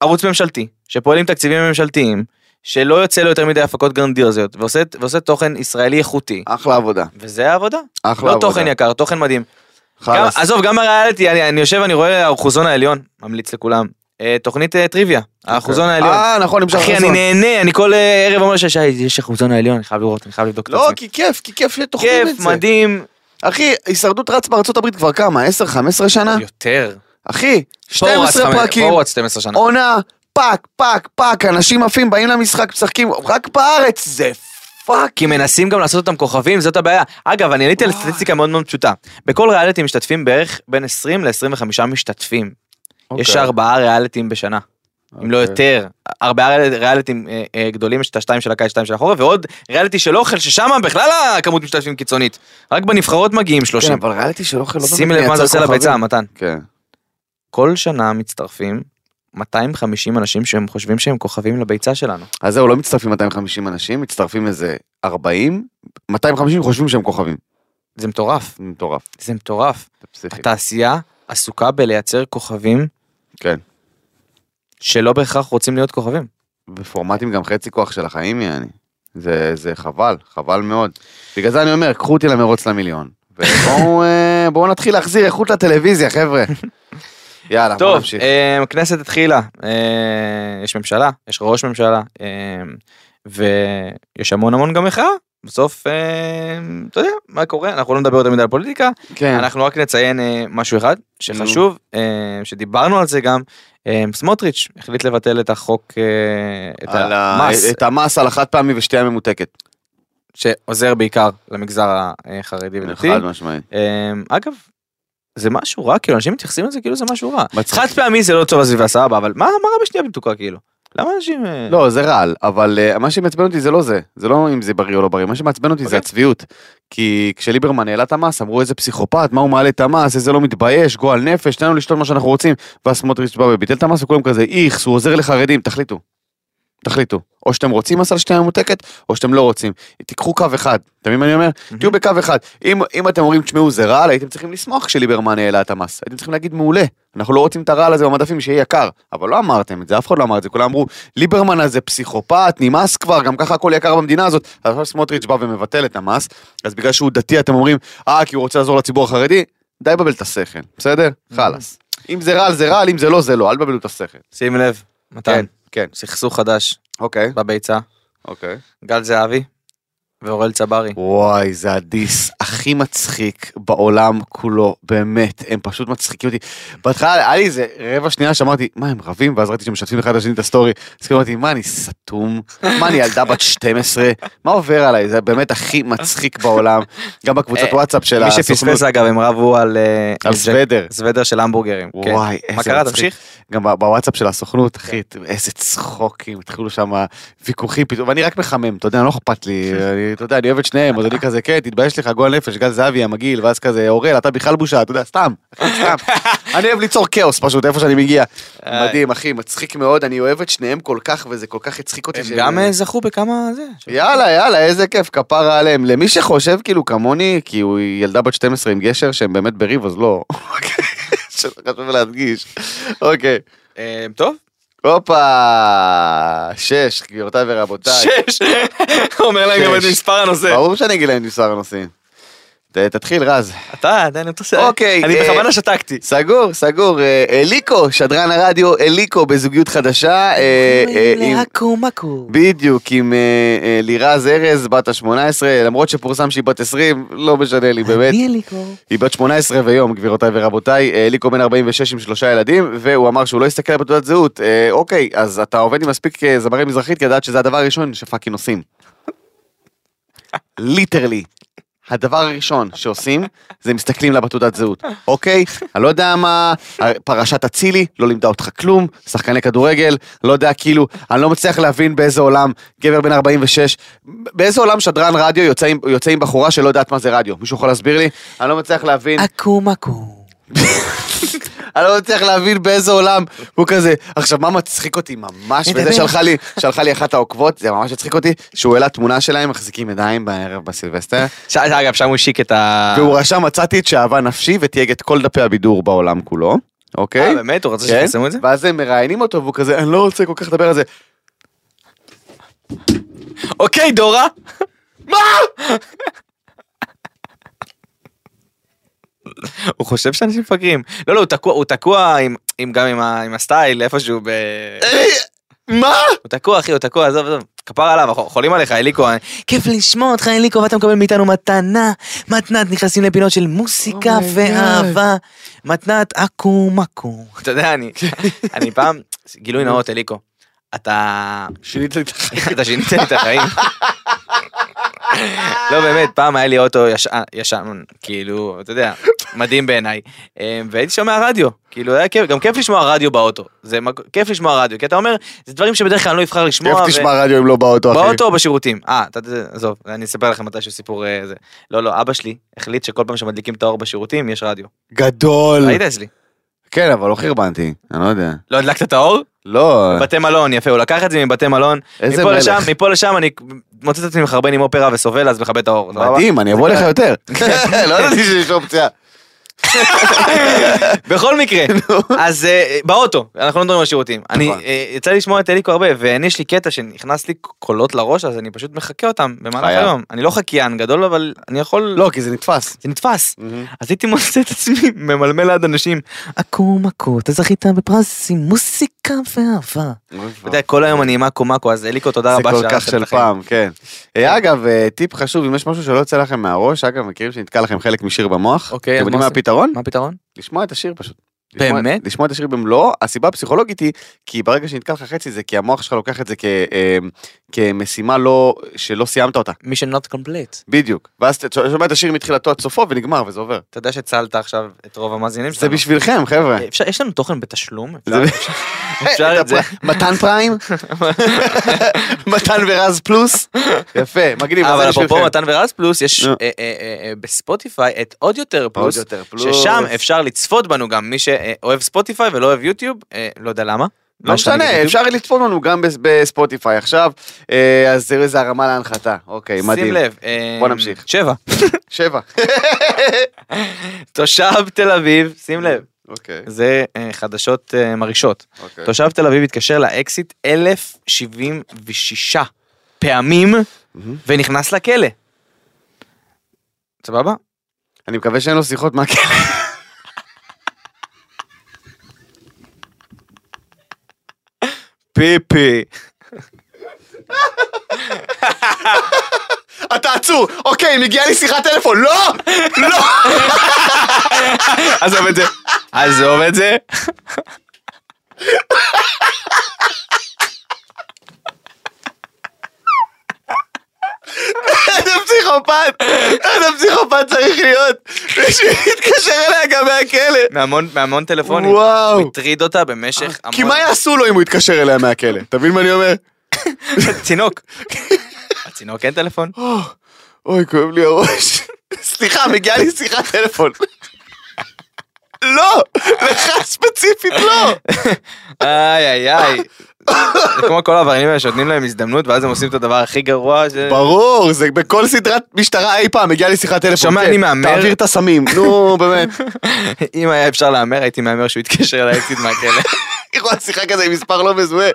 ערוץ ממשלתי, שפועל עם תקציבים ממשלתיים, שלא יוצא לו יותר מדי הפקות גרנדיוזיות, ועושה, ועושה תוכן ישראלי איכותי.
אחלה עבודה.
וזה העבודה.
אחלה
לא
עבודה.
תוכן יקר, תוכן מדהים. גם,
חלאס.
עזוב, גם הריאליטי, אני, אני יושב, אני רואה האחוזון העליון, ממליץ לכולם. אה, תוכנית אה, טריוויה, האחוזון העליון.
אה, נכון, נמשך
אחי, אני
חסון.
נהנה, אני כל אה, ערב אומר ששי, יש אחוזון העליון, אני חייב לראות, אני חייב לבדוק את
לא,
עצמי.
כי כיף, כי כיף שטוחנים את
כיף,
זה.
מדהים.
אחי, הישרדות רץ בארצות הברית כבר כמה? 10-15 שנה?
יותר.
אחי,
פה
12
הוא רץ חמש-
פרקים,
פה הוא רץ 12 שנה.
עונה, פאק, פאק, פאק, אנשים עפים, באים למשחק, משחקים, רק בארץ, זה פאק.
כי מנסים גם לעשות אותם כוכבים, זאת הבעיה. אגב, אני עליתי על
וואי.
סטטיסטיקה מאוד מאוד פשוטה. בכל ריאליטי משתתפים בערך בין 20 ל-25 משתתפים.
אוקיי.
אוקיי, יש ארבעה ריאליטים בשנה, אם לא יותר. ארבעה ריאל- ריאליטים אה, אה, גדולים, יש את השתיים של הקיץ, שתיים של החורף, ועוד ריאליטי של אוכל, ששם בכלל הכמות משתתפים קיצונית. רק בנבחרות מגיעים
כן,
30.
אבל ריאליטי של אוכל לא באמת
שים לב מה זה
מייצר
עושה לביצה,
כוכבים.
מתן.
כן.
כל שנה מצטרפים 250 אנשים שהם חושבים שהם כוכבים לביצה שלנו.
אז זהו, לא מצטרפים 250 אנשים, מצטרפים איזה 40, 250 חושבים שהם כוכבים.
זה מטורף,
זה מטורף,
זה מטורף.
זה פסיכי.
התעשייה עסוקה בלייצר כוכבים.
כן.
שלא בהכרח רוצים להיות כוכבים.
בפורמטים גם חצי כוח של החיים יעני. זה, זה חבל, חבל מאוד. בגלל זה אני אומר, קחו אותי למרוץ למיליון. ובואו אה, בואו נתחיל להחזיר איכות לטלוויזיה, חבר'ה. יאללה, בואו
טוב, אמ,
נמשיך.
אה, הכנסת התחילה, אה, יש ממשלה, יש ראש ממשלה, אה, ויש המון המון גם מחאה. בסוף, אה, אתה יודע, מה קורה, אנחנו לא נדבר יותר מדי על פוליטיקה,
כן.
אנחנו רק נציין אה, משהו אחד שחשוב, אה, שדיברנו על זה גם, אה, סמוטריץ' החליט לבטל את החוק, אה, את
על ה-
המס,
את המס על החד פעמי ושתייה ממותקת.
שעוזר בעיקר למגזר החרדי ודתי.
חד משמעית.
אה, אגב, זה משהו רע, כאילו אנשים מתייחסים לזה כאילו זה משהו רע.
מצחיק.
חד פעמי זה לא טוב לסביבה סבבה, אבל מה מה רע בשנייה במתוקה כאילו? למה אנשים... אה,
לא, זה רעל, אבל אה, מה שמעצבן אותי זה לא זה, זה לא אם זה בריא או לא בריא, מה שמעצבן אותי זה
אוקיי.
הצביעות. כי כשליברמן העלה את המס, אמרו איזה פסיכופת, מה הוא מעלה את המס, איזה לא מתבייש, גועל נפש, תן לנו לשתות מה שאנחנו רוצים, ואז סמוטריץ' בא וביטל את המס, וכולם כזה, איכס, הוא עוזר לחרדים, תחליטו. תחליטו. או שאתם רוצים מס על שתייה ממותקת, או שאתם לא רוצים. תיקחו קו אחד, אתם מבינים מה אני אומר? תהיו בקו אחד. אם, אם אתם אומרים, תשמעו, זה רעל, הייתם צריכים לשמוח כשליברמן העלה את המס. הייתם צריכים להגיד, מעולה, אנחנו לא רוצים את הרעל הזה במדפים, שיהיה יקר. אבל לא אמרתם את זה, אף אחד לא אמר את זה, כולם אמרו, ליברמן הזה פסיכופת, נמאס כבר, גם ככה הכל יקר במדינה הזאת. אז עכשיו סמוטריץ' בא ומבטל את המס, אז בגלל שהוא דתי אתם אומרים, אה, כי הוא רוצה לעזור לציבור החרדי? די בבל את השכל, בסדר? חלאס. אם זה רעל זה רעל, אם זה לא זה לא, אל תבלבלו את השכל.
שים לב, מתן,
כן, כן,
סכסוך חדש
אוקיי,
בביצה,
אוקיי.
גל זהבי ואורל צברי.
וואי, זה הדיס הכי מצחיק בעולם כולו, באמת, הם פשוט מצחיקים אותי. בהתחלה היה לי איזה רבע שנייה שאמרתי, מה הם רבים? ואז ראיתי שהם משתפים אחד לשני את הסטורי. אז כאילו אמרתי, מה אני סתום? מה אני ילדה בת 12? מה עובר עליי? זה באמת הכי מצחיק בעולם. גם בקבוצת
אה,
וואטסאפ של
מי שפספס אגב הם רבו על אה,
על
ג'ק-
סוודר.
סוודר של המבורגרים. כן.
וואי, איזה
מה קרה?
מצחיק.
תמשיך.
גם ב- בוואטסאפ של הסוכנות, אחי,
כן.
איזה צחוקים, התחילו שם ויכוחים פתאום, ואני רק מחמם, אתה יודע, לא אכפת לי, אני- אתה יודע, אני אוהב את שניהם, אז אני כזה, כן, תתבייש לך, גועל נפש, גל זהבי, המגעיל, ואז כזה, אורל, אתה בכלל בושה, אתה יודע, סתם, אחי, סתם. אני אוהב ליצור כאוס פשוט, איפה שאני מגיע.
איי.
מדהים, אחי, מצחיק מאוד, אני אוהב את שניהם כל כך, וזה כל כך הצחיק אותי.
הם
ש-
גם אה, זכו בכמה זה.
יאללה, יאללה, איזה כיף, כפרה עליהם. למי שחושב כאילו כמוני, כי הוא ילדה בת 12 עם גשר, שהם באמת בריב, אז לא. אוקיי, חשוב להדגיש. אוקיי.
אה, טוב.
הופה, שש, גבירותיי ורבותיי.
שש. אומר להם גם את
שש.
מספר הנושא.
ברור שאני אגיד להם את מספר הנושאים. ת- תתחיל, רז.
אתה עדיין אתה עושה.
אוקיי,
אני
אה,
בכוונה שתקתי.
סגור, סגור. אה, אליקו, שדרן הרדיו, אליקו בזוגיות חדשה. אה, אה, עם-
מקו.
בדיוק, עם אה, אה, לירז ארז, בת ה-18, למרות שפורסם שהיא בת 20, לא משנה לי, באמת.
אליקו.
היא בת 18 ויום, גבירותיי ורבותיי, אה, אליקו בן 46 עם שלושה ילדים, והוא אמר שהוא לא יסתכל על תעודת זהות. אה, אוקיי, אז אתה עובד עם מספיק אה, זמרי מזרחית, כי לדעת שזה הדבר הראשון שפאקינג עושים. ליטרלי. הדבר הראשון שעושים, זה מסתכלים לה בתעודת זהות, אוקיי? אני לא יודע מה, פרשת אצילי לא לימדה אותך כלום, שחקני כדורגל, לא יודע כאילו, אני לא מצליח להבין באיזה עולם, גבר בן 46, באיזה עולם שדרן רדיו יוצא עם, יוצא עם בחורה שלא יודעת מה זה רדיו, מישהו יכול להסביר לי? אני לא מצליח להבין.
אקו מקו.
אני לא מצליח להבין באיזה עולם הוא כזה. עכשיו, מה מצחיק אותי ממש, וזה שלחה לי, שלחה לי אחת העוקבות, זה ממש הצחיק אותי, שהוא העלה תמונה שלהם מחזיקים ידיים בערב בסילבסטר,
אה, אגב שם הוא השיק את ה...
והוא רשם מצאתי את שאהבה נפשי ותייג את כל דפי הבידור בעולם כולו,
אה,
אוקיי?
באמת? הוא רצה
כן?
שיפרסמו את זה?
ואז הם מראיינים אותו והוא כזה, אני לא רוצה כל כך לדבר על זה.
אוקיי דורה. מה? הוא חושב שאנשים מפגרים. לא לא הוא תקוע הוא תקוע עם, עם גם עם, ה, עם הסטייל איפשהו ב...
מה?
הוא תקוע אחי הוא תקוע עזוב עזוב. כפר עליו אנחנו חולים עליך אליקו. כיף לשמוע אותך אליקו ואתה מקבל מאיתנו מתנה. מתנת נכנסים לפינות של מוסיקה
Oh my
ואהבה. מתנת אקו מקו. אתה יודע אני
כן.
אני פעם גילוי נאות אליקו. אתה
שינית לי את החיים.
אתה שינית לי את החיים. לא באמת, פעם היה לי אוטו ישן- ישן, כאילו, אתה יודע, מדהים בעיניי. אה, והייתי שומע רדיו, כאילו היה כיף, גם כיף לשמוע רדיו באוטו. זה מק- כיף לשמוע רדיו, כי אתה אומר, זה דברים שבדרך כלל אני לא אבחר לשמוע.
כיף
ו-
תשמע רדיו אם לא באוטו, אחי.
באוטו או בשירותים? אה, אתה זה- עזוב, אני אספר לכם מתישהו סיפור אה, זה. לא, לא, אבא שלי החליט שכל פעם שמדליקים את האור בשירותים יש רדיו.
גדול.
היית אצלי.
כן, אבל לא חרבנתי, אני לא יודע.
לא הדלקת את האור?
לא,
בתי מלון, יפה, הוא לקח את זה מבתי מלון.
איזה
מפה
מלך.
לשם, מפה לשם אני מוצא את עצמי מחרבן עם אופרה וסובל, אז מכבה את האור. סבבה?
מדהים, אני אבוא לך יותר. לא ידעתי שיש אופציה.
בכל מקרה, אז אה, באוטו, אנחנו לא מדברים על שירותים. אני,
נכון.
אה, יצא לי לשמוע את אליקו הרבה, ואני יש לי קטע שנכנס לי קולות לראש, אז אני פשוט מחקה אותם במהלך
חייב.
היום. אני לא חקיין גדול, אבל אני יכול...
לא, כי זה נתפס.
זה נתפס. אז הייתי מוצא את עצמי ממלמל ליד אנשים, עכו מכו, אתה זכית בפרס עם מוסיקה ואהבה. אתה יודע, כל היום אני עם עכו מכו, אז אליקו, תודה
אה. זה
רבה.
כל כך
שאהבת את
של
החיים.
פעם, כן. אה, אגב, אה, טיפ חשוב, אם יש משהו שלא יוצא לכם מהראש, אגב, מכירים שנתקע לכם חלק משיר במוח?
אוקיי, אז
אתם יודעים
מה
מה
עושים?
הפתרון?
מה הפתרון?
לשמוע את השיר פשוט. לשמוע-
באמת?
לשמוע את השיר במלואו, הסיבה הפסיכולוגית היא, כי ברגע שנתקע לך חצי זה כי המוח שלך לוקח את זה כ- אה, כמשימה לא, שלא סיימת אותה.
מישן נוט קומפליט.
בדיוק. ואז אתה שומע את השיר מתחילתו עד סופו ונגמר וזה עובר.
אתה יודע שהצלת עכשיו את רוב המאזינים
זה
שלנו.
בשבילכם, חבר'ה.
אפשר, יש לנו תוכן בתשלום? אפשר-
זה-
אה, לא. אפשר את זה.
מתן פריים? מתן ורז פלוס? יפה, מגניב, אז
אה, אבל
זה
אפרופו
בשבילכם.
מתן ורז פלוס, יש
נו.
אה, אה, אה, אה, בספוטיפיי את עוד יותר
עוד
פלוס,
יותר פלוס.
ששם אפשר לצפות בנו גם, מי שאוהב ספוטיפיי ולא אוהב יוטיוב, אה, לא יודע למה.
לא משנה, אפשר לצפות לנו גם בס- בספוטיפיי עכשיו. אה, אז תראו איזה הרמה להנחתה. אוקיי,
מדהים. שים
מדהים.
לב. אה,
בוא נמשיך.
שבע.
שבע. אוקיי,
תושב תל אביב, שים לב,
אוקיי,
זה אה, חדשות אה, מרעישות.
אוקיי.
תושב תל אביב התקשר לאקסיט 1,076 פעמים
מהמם.
ונכנס לכלא. סבבה?
אני מקווה שאין לו שיחות מהכלא.
פיפי.
אתה עצור! אוקיי, מגיעה לי שיחת טלפון! לא! לא!
עזוב את זה. עזוב את זה.
איזה פסיכופת! איזה פסיכופת צריך להיות! מישהו יתקשר אליה גם מהכלא!
מהמון, מהמון טלפונים.
וואו! אה,
הוא הטריד אותה במשך המון...
כי מה יעשו לו אם הוא יתקשר אליה מהכלא? אתה מבין מה אני אומר?
צינוק. הצינוק אין טלפון.
אוי, כואב לי הראש. סליחה, מגיעה לי שיחת טלפון. לא! לך ספציפית לא!
איי איי איי. זה כמו כל העבריינים האלה שנותנים להם הזדמנות ואז הם עושים את הדבר הכי גרוע. ש-
ברור, זה בכל סדרת משטרה אי פעם, מגיעה לי שיחת טלפון.
שומע,
כן,
אני מהמר.
תעביר את הסמים, נו באמת.
אם היה אפשר להמר הייתי מהמר שהוא יתקשר לאקסיט מהכלא.
היא רואה שיחה כזה עם מספר לא מזוהה.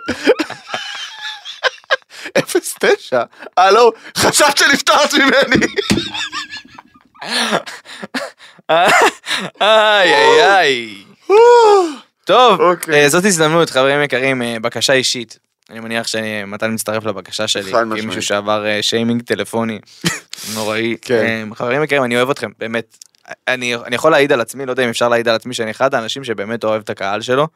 אפס תשע, הלו, חשבת שנפטרת ממני.
איי איי איי.
אה,
טוב,
אוקיי.
אה, זאת הזדמנות חברים יקרים, אה, בקשה אישית. אני מניח שמתן מצטרף לבקשה שלי,
חד
כי
משמעית.
מישהו שעבר אה, שיימינג טלפוני נוראי.
כן.
אה, חברים יקרים, אני אוהב אתכם, באמת. אני, אני יכול להעיד על עצמי, לא יודע אם אפשר להעיד על עצמי, שאני אחד האנשים שבאמת אוהב את הקהל שלו.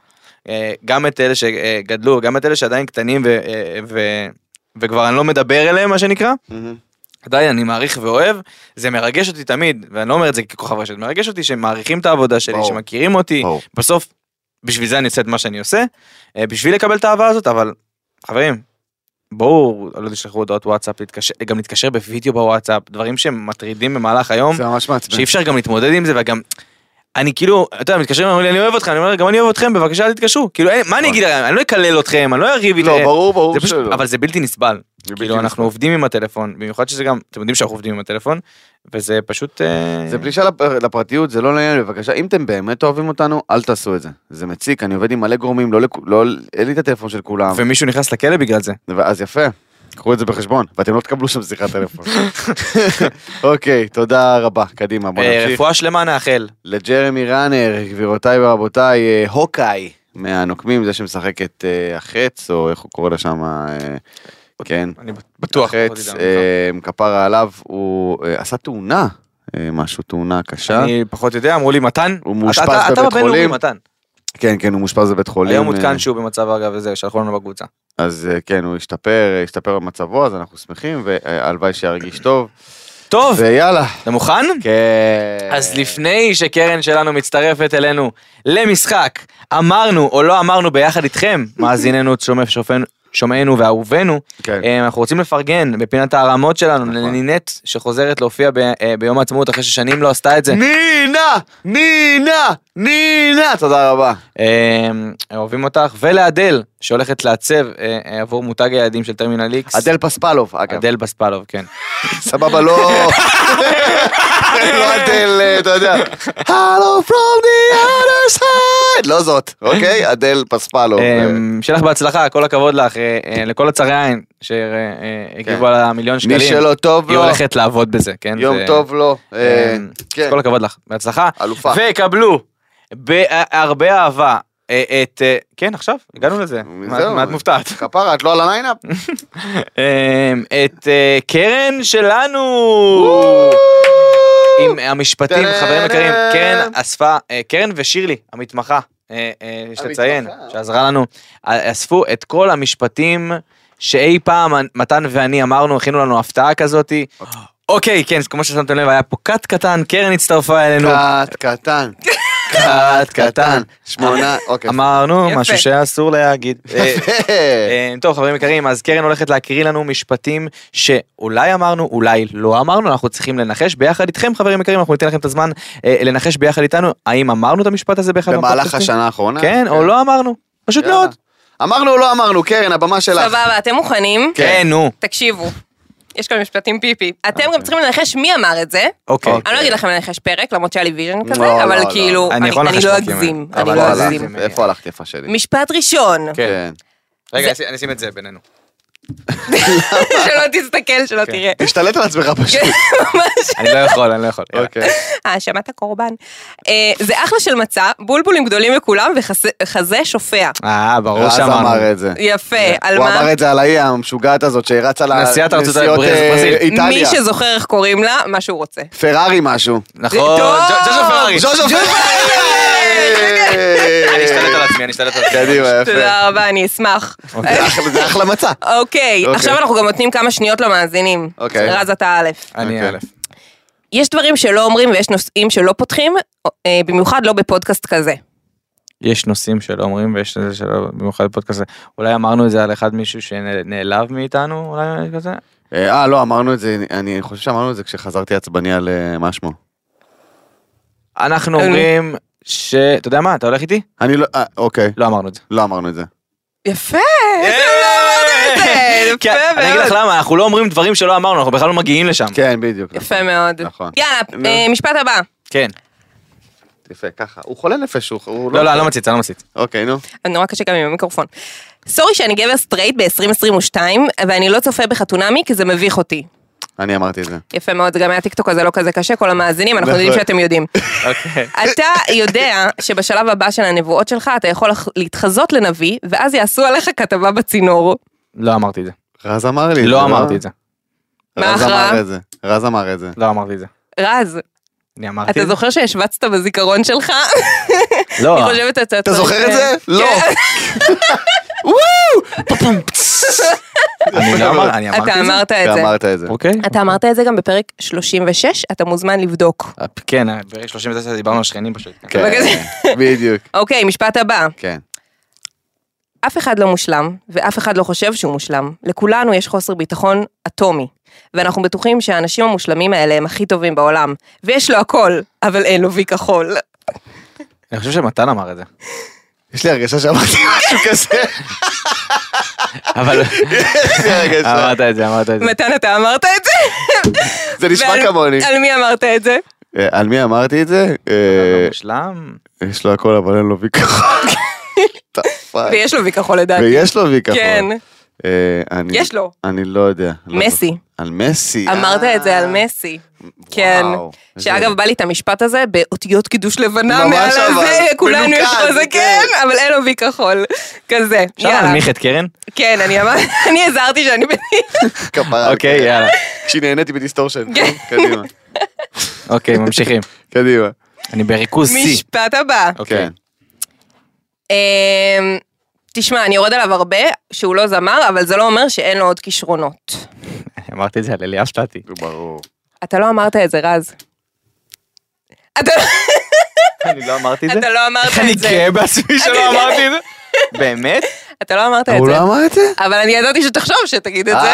אה, גם את אלה שגדלו, גם את אלה שעדיין קטנים ו, אה, ו, וכבר אני לא מדבר אליהם, מה שנקרא. עדיין אני מעריך ואוהב, זה מרגש אותי תמיד, ואני לא אומר את זה ככוכב רשת, מרגש אותי שמעריכים את העבודה שלי,
ברור.
שמכירים אותי,
ברור.
בסוף, בשביל זה אני עושה את מה שאני עושה, אה, בשביל לקבל את האהבה הזאת, אבל חברים, בואו, לא תשלחו הודעות וואטסאפ, להתקשר, גם להתקשר בווידאו בוואטסאפ, דברים שמטרידים במהלך היום,
זה ממש מעצבן.
שאי אפשר גם להתמודד עם זה, וגם, אני כאילו, אתה יודע, מתקשרים, אומרים לי, אני אוהב אותך, אני אומר, גם אני אוהב אתכם, בבקשה אל תתקשרו, כאילו, אין- מה אני אגיד, להם? אני לא אקלל אתכם, אני לא אריב
לא,
איתכם,
ברור,
זה
ברור
פשוט-
שלא.
אבל זה בלתי נסבל.
זה בלתי
כאילו אנחנו עובדים עם הטלפון, במיוחד שזה גם, אתם יודעים שאנחנו עובדים עם הטלפון, וזה פשוט... אה,
זה פלישה לפ- לפרטיות, זה לא לעניין, בבקשה, אם אתם באמת אוהבים אותנו, אל תעשו את זה. זה מציק, אני עובד עם מלא גורמים, לא, לכ- לא, אין לי את הטלפון של כולם,
ומישהו נכנס לכלא בגלל זה.
ואז יפה, קחו את זה בחשבון, ואתם לא תקבלו שם שיחת טלפון. אוקיי, תודה רבה, קדימה, בוא
אה,
נמשיך.
רפואה שלמה נאחל.
לג'רמי ראנר, גבירותיי ורבותיי, אה, הוקאי מהנוקמים, זה שמשחק את אה, החץ, או איך הוא קורא לה שם, אה, כן,
אני בטוח.
החץ, אה, כפרה עליו, הוא אה, עשה תאונה, אה, משהו, תאונה קשה.
אני פחות יודע, אמרו לי מתן.
הוא
אתה-
מאושפז
אתה- אתה
בבית
בבינלאומי,
חולים.
מתן.
כן, כן, הוא מאושפז בבית חולים.
היום
אה,
עודכן שהוא במצב אגב וזה, שלחו לנו בקבוצה.
אז אה, כן, הוא השתפר, השתפר במצבו, אז אנחנו שמחים, והלוואי שירגיש טוב.
טוב,
ויאללה.
אתה מוכן?
כן.
אז לפני שקרן שלנו מצטרפת אלינו למשחק, אמרנו או לא אמרנו ביחד איתכם, מאזיננו, שומע- שופן- שומענו ואהובנו,
כן.
אה, אנחנו רוצים לפרגן בפינת הרמות שלנו
נכון.
לנינט שחוזרת להופיע ב- אה, ביום העצמאות אחרי ששנים לא עשתה את זה.
נינה! נינה! נינה! תודה רבה.
אה, אוהבים אותך ולאדל שהולכת לעצב אה, אה, עבור מותג היעדים של טרמינל איקס.
אדל פספלוב, אגב.
אדל בספלוב כן.
סבבה, לא... לא עד אל, אה, אתה יודע, הלו from the other side, לא זאת, אוקיי? אדל פספלו. אה,
אמ, שיהיה לך בהצלחה, כל הכבוד לך, אה, אה, לכל הצרי עין שהגיבו
כן.
אה, על המיליון שקלים.
מי שלא טוב
היא
לו,
הולכת לעבוד בזה, כן?
יום
זה-
טוב לו. אה,
אמ,
כן,
כל הכבוד לך, בהצלחה.
אלופה.
וקבלו בהרבה אהבה אה, את... אה, כן, עכשיו, הגענו לזה. מה
זהו.
מה את מופתעת?
כפרה, את לא על הליינאפ?
אמ, את אה, קרן שלנו! עם המשפטים,
טה-דאם.
חברים יקרים, קרן אספה, אה, קרן ושירלי, המתמחה, אה, אה, יש
המתמחה.
לציין, שעזרה לנו, אה, אספו את כל המשפטים שאי פעם מתן ואני אמרנו, הכינו לנו הפתעה כזאתי. אוקיי, כן, אז כמו ששמתם לב, היה פה קאט קטן, קרן הצטרפה אלינו,
קאט קטן,
קאט
קטן, שמונה, אוקיי.
אמרנו
יפה.
משהו שהיה אסור להגיד. אה,
יפה.
אה, טוב חברים יקרים אז קרן הולכת להקריא לנו משפטים שאולי אמרנו אולי לא אמרנו אנחנו צריכים לנחש ביחד איתכם חברים יקרים אנחנו ניתן לכם את הזמן אה, לנחש ביחד איתנו האם אמרנו את המשפט הזה באחד
במהלך
מהפודקאסטים?
השנה האחרונה?
כן או לא אמרנו פשוט
יאללה.
מאוד.
אמרנו, לא אמרנו, קרן, הבמה שלך.
סבבה, אתם מוכנים?
כן.
כן נו
תקשיבו, יש כאן משפטים פיפי.
אוקיי.
אתם גם צריכים לנחש מי אמר את זה.
אוקיי.
אני לא אגיד לכם לנחש פרק, למרות שהיה לי ויז'ן
לא,
כזה,
לא,
אבל
לא.
כאילו,
אני
אני
יכול
אני
לנחש
לא
פרקים,
אגזים,
אבל
אני
אבל
לא
לא
הלכת.
אגזים.
הלכת, איפה הלכת יפה שלי?
משפט ראשון,
כן.
רגע
זה-
אני אשים את זה בינינו.
שלא תסתכל,
כן.
שלא תראה.
תשתלט על עצמך פשוט.
כן. ממש
אני לא יכול אני לא יכול.
אוקיי.
האשמת הקורבן. אה, זה אחלה של מצה, בולבולים גדולים לכולם וחזה שופע.
אה ברור
רז אמר
שאמרנו.
את זה.
יפה, על
הוא
מה?
אמר את זה על ההיא המשוגעת הזאת שרצה ל-
נשיאת ארצות
נסיעות,
הברית,
אה,
ברזיל.
איטליה.
מי שזוכר איך קוראים לה, מה שהוא רוצה.
פרארי משהו.
נכון.
טוב.
ג'ו- ג'וז'ו
כן.
פרארי.
ז'וז'ו
אני אשתלט
פרארי!
על עצמי אני אשתלט על עצמי.
קדימה, יפה.
תודה רבה, אני אשמח.
זה אחלה- זה אחלה מצע.
אוקיי,
אוקיי.
עכשיו אנחנו גם נותנים כמה שניות למאזינים.
אוקיי.
רז אתה א'.
אני
אוקיי.
א'.
יש דברים שלא אומרים ויש נושאים שלא פותחים, אה, במיוחד לא בפודקאסט כזה.
יש נושאים שלא אומרים ויש איזה שלא במיוחד בפודקאסט הזה. אולי אמרנו את זה על אחד מישהו שנעלב מאיתנו אולי כזה.
אה, אה, לא, אמרנו את זה, אני חושב שאמרנו את זה כשחזרתי עצבני על אה, מה שמו.
אנחנו אומרים ש... אתה יודע מה אתה הולך איתי?
אני לא, אה, אוקיי,
לא אמרנו את זה.
לא אמרנו את זה.
יפה, אתם לא אמרתם את זה,
כן, אני אגיד
יפה
לך
מאוד.
למה אנחנו לא אומרים דברים שלא אמרנו אנחנו בכלל לא מגיעים לשם.
כן, בדיוק.
יפה מאוד.
נכון.
יאללה,
נו.
אה, משפט הבא.
כן.
יפה, ככה. הוא חולה נפש, הוא- הוא
לא לא אני לא מציץ אני לא מציץ.
אוקיי, נו.
אה, נורא קשה גם עם המיקרופון. סורי שאני גבר סטרייט ב-2022, ואני לא צופה בחתונמי כי זה מביך אותי.
אני אמרתי את זה.
יפה מאוד, זה גם היה טיקטוק הזה לא כזה קשה, כל המאזינים, אנחנו יודעים
נכון.
שאתם יודעים.
אוקיי.
אתה יודע שבשלב הבא של הנבואות שלך אתה יכול לח- להתחזות לנביא, ואז יעשו עליך כתבה בצינור.
לא אמרתי את זה.
אה,
רז אמר לי את זה.
לא אמרתי את זה.
מה
רז
ההכרעה?
אמר את זה. רז אמר את זה.
לא אמרתי את זה.
רז,
אני אמרתי את
אתה
זה.
זוכר שהשווצת בזיכרון שלך?
לא.
אני חושבת כן. אתה
אתה זוכר את זה? לא.
אני לא אמר- אני אמרתי
אתה
אתה
את זה.
אמרת את זה.
אמרת את זה.
אוקיי.
אתה אמרת את זה גם בפרק 36, אתה מוזמן לבדוק.
כן בפרק 39 דיברנו על שכנים פשוט.
כן,
בבקשה.
בדיוק,
אוקיי, משפט הבא.
כן.
אף אחד לא מושלם, ואף אחד לא חושב שהוא מושלם. לכולנו יש חוסר ביטחון אטומי, ואנחנו בטוחים שהאנשים המושלמים האלה הם הכי טובים בעולם. ויש לו הכל, אבל אין לו וי כחול.
אני חושב שמתן אמר את זה.
יש לי הרגשה שאמרתי משהו כזה.
אבל
יש לי הרגשה.
אמרת את זה אמרת את זה.
מתן, אתה אמרת את זה?
זה נשמע
ועל-
כמוני.
על מי אמרת את זה?
אה, על מי אמרתי את זה? אה,
מושלם.
יש לו הכל אבל אין לו וי כחול. What the fuck?
ויש לו וי כחול לדעתי.
ויש לו וי כחול.
כן,
אה, אני-
יש לו.
אני לא יודע. לא
מסי.
זוכר. על מסי.
אמרת
אה,
את זה על מסי. כן.
וואו.
שאגב, בא לי את המשפט הזה באותיות קידוש לבנה
ממש
מעל
אבל,
הזה, כולנו
מנוקד,
יש לו זה,
כן.
כן, אבל אין לו וי כחול. כזה.
אפשר
יאללה.
להנמיך את קרן?
כן, אני אמרתי, אני הזהרתי שאני בדיוק.
אה, כפרה.
אוקיי יאללה.
כשנהניתי בדיסטורשן.
כן.
קדימה.
אוקיי ממשיכים.
קדימה.
אני בריכוז C.
משפט הבא.
אוקיי.
כן.
אמ, תשמע, אני יורד עליו הרבה, שהוא לא זמר, אבל זה לא אומר שאין לו עוד כישרונות.
אמרתי את זה על אליאב שטטי.
ברור.
אתה לא אמרת את זה, רז. אתה לא-
אני לא אמרתי את זה.
אתה לא אמרת
איך אני
את זה.
כן.
גאה בעצמי שלא אמרתי את זה. באמת?
אתה לא אמרת את
הוא
זה.
לא אמר את זה?
אבל אני ידעתי שתחשוב שתגיד את זה.
אה,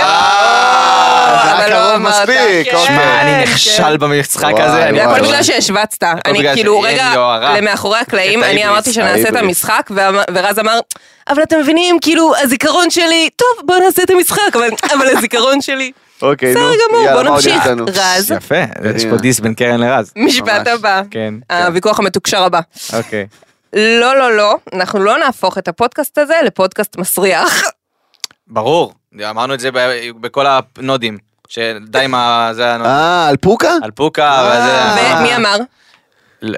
זה היה
אבל לא
קרוב
אמרת.
מספיק,
כן,
אוקיי.
שמע, אה, אני
כן.
נכשל במשחק
וואי,
הזה. אני
וואי,
זה הכל
לא-
בגלל
וואי.
שהשווצת, אני
בגלל
כאילו
שאין
רגע
יוהרה.
למאחורי הקלעים,
את
אני
ההיבריס.
אמרתי שנעשה את
ההיבריס.
המשחק, ואמר- ורז אמר, אבל אתם מבינים, כאילו הזיכרון שלי, טוב בוא נעשה את המשחק, אבל- אבל הזיכרון שלי,
אוקיי, נו.
בסדר גמור,
יאללה,
בוא
מה עוד
נמשיך.
יש לנו?
רז,
יפה, יש פה דיס בין קרן לרז.
משפט
ממש.
הבא.
כן,
הוויכוח המתוקשר הבא.
אוקיי.
לא, לא, לא, אנחנו לא נהפוך את הפודקאסט הזה לפודקאסט מסריח.
ברור, אמרנו את זה ב- בכל הנודים, שדי עם ה... זה הנוד.
אה, על פוקה?
על פוקה,
אה.
וזה...
ומי אמר?
ל-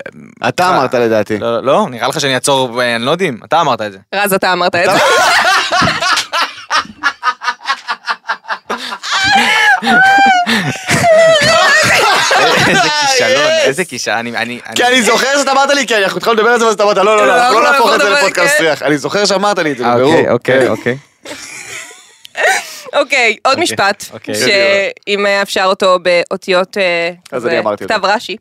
אתה אמרת לדעתי.
לא, לא, נראה לך שאני אעצור אה, נודים? אתה אמרת את זה.
רז, אתה אמרת את זה.
איזה כישלון,
אה,
איזה כישלון, אני... אני-
כי אני זוכר שאתה אמרת לי, כי אנחנו התחלנו לדבר על זה, ואז אתה אמרת, לא, לא, לא, אנחנו לא נהפוך את זה
לדבר,
לפודקאסט
כן.
ריח. אני זוכר שאמרת לי את זה,
אה,
בבירור. כן.
אוקיי, אוקיי, אוקיי.
אוקיי, עוד
אוקיי,
משפט,
אוקיי.
שאם היה אפשר אותו באותיות אה,
אז
כזה,
אני אמרתי
כתב
אותו.
רש"י.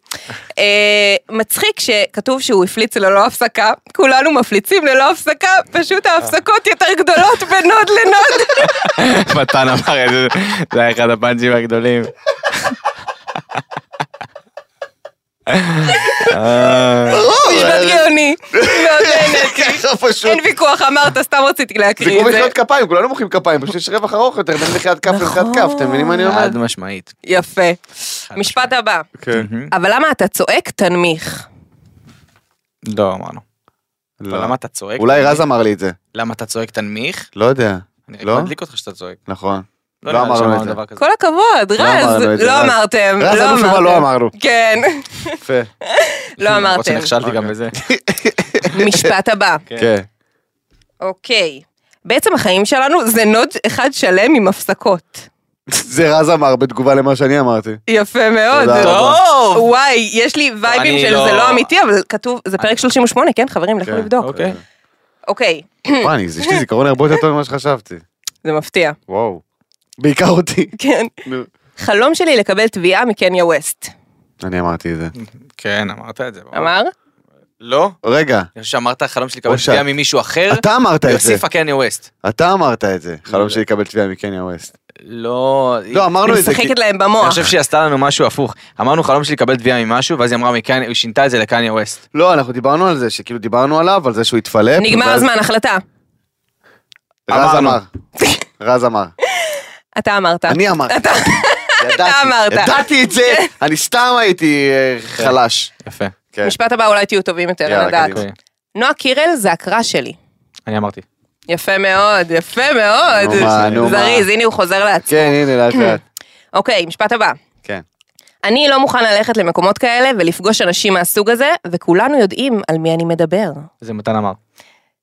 אה, מצחיק שכתוב שהוא הפליץ ללא הפסקה, כולנו מפליצים ללא הפסקה, פשוט ההפסקות יותר גדולות בנוד לנוד.
מתן אמר את זה, זה היה אחד הפאנצ'ים הגדולים. אה,
משפט גאוני, מאוד נהנית.
ככה לא, פשוט.
אין ויכוח, אמרת, סתם רציתי
זה
להקריא
כמו
את זה.
מחיאות כפיים, כולנו מוחאים כפיים, פשוט יש רווח ארוך יותר בין מחיאת כף למחיאת כף, אתם מבינים מה אני אומר?
חד משמעית.
יפה. משפט הבא,
כן.
אבל למה אתה צועק תנמיך?
לא אמרנו.
לא.
אבל למה אתה צועק?
אולי רז אמר לי את זה,
למה אתה צועק תנמיך?
לא יודע.
אני רק
לא?
מדליק אותך שאתה צועק.
נכון. לא
נראה לי
אמרנו את
שאמרנו
זה.
דבר כזה.
כל הכבוד, רז,
אמרנו את זה,
לא
רז.
אמרתם,
רז,
לא
אלוף שמה, לא
אמרתם.
אמרנו.
כן,
יפה.
לא
למרות
אמרתם.
שנכשלתי גם בזה.
משפט הבא.
כן.
אוקיי. בעצם החיים שלנו זה נוד אחד שלם עם הפסקות.
זה רז אמר בתגובה למה שאני אמרתי.
יפה מאוד.
תודה רבה.
טוב!
וואי, יש לי וייבים
אני
של
לא-
זה לא אמיתי, אבל כתוב, זה פרק 38, כן חברים? לכו
כן,
לבדוק.
אוקיי.
אוקיי,
וואי, אני- יש לי זיכרון הרבה יותר טוב ממה שחשבתי.
זה מפתיע.
וואו. בעיקר אותי.
כן.
נו.
חלום שלי לקבל תביעה מקניה ווסט.
אני אמרתי את זה.
כן, אמרת את זה. ברור.
אמר?
לא?
רגע,
אני חושב שאמרת חלום שלי לקבל
אושר.
תביעה ממישהו אחר.
אתה אמרת את זה.
יוסיפה קני ווסט.
אתה אמרת את זה. חלום
יודע.
שלי לקבל תביעה מקניה ווסט.
לא... היא-
לא, אמרנו
אני
את זה. כי-
משחקת להם
אני
במוח.
חושב שהיא עשתה לנו משהו הפוך. אמרנו חלום שלי לקבל תביעה ממשהו, ואז היא אמרה מקני, היא שינתה את זה לקניה ווסט.
לא, אנחנו דיברנו על זה, שכאילו דיברנו עליו, על זה שהוא התפלפ.
נגמר
ואז-
הזמן, החלטה.
רז
אמרנו.
אמר. רז אמר.
אתה אמרת.
אני אמרתי.
אתה-
ידעתי,
אמרת. כן.
ידעתי את זה, אני סתם הייתי אה, חלש.
יפה.
כן.
משפט הבא, אולי תהיו טובים יותר,
יאללה,
אני יודעת.
קדימה.
אוקיי.
נועה קירל זה הקרא שלי.
אני אמרתי.
יפה מאוד, יפה מאוד.
נו מה, נו מה.
זריז, הנה הוא חוזר לעצמו.
כן, הנה, לאט לאט.
אוקיי, משפט הבא.
כן.
אני לא מוכן ללכת למקומות כאלה ולפגוש אנשים מהסוג הזה, וכולנו יודעים על מי אני מדבר.
זה מתן אמר.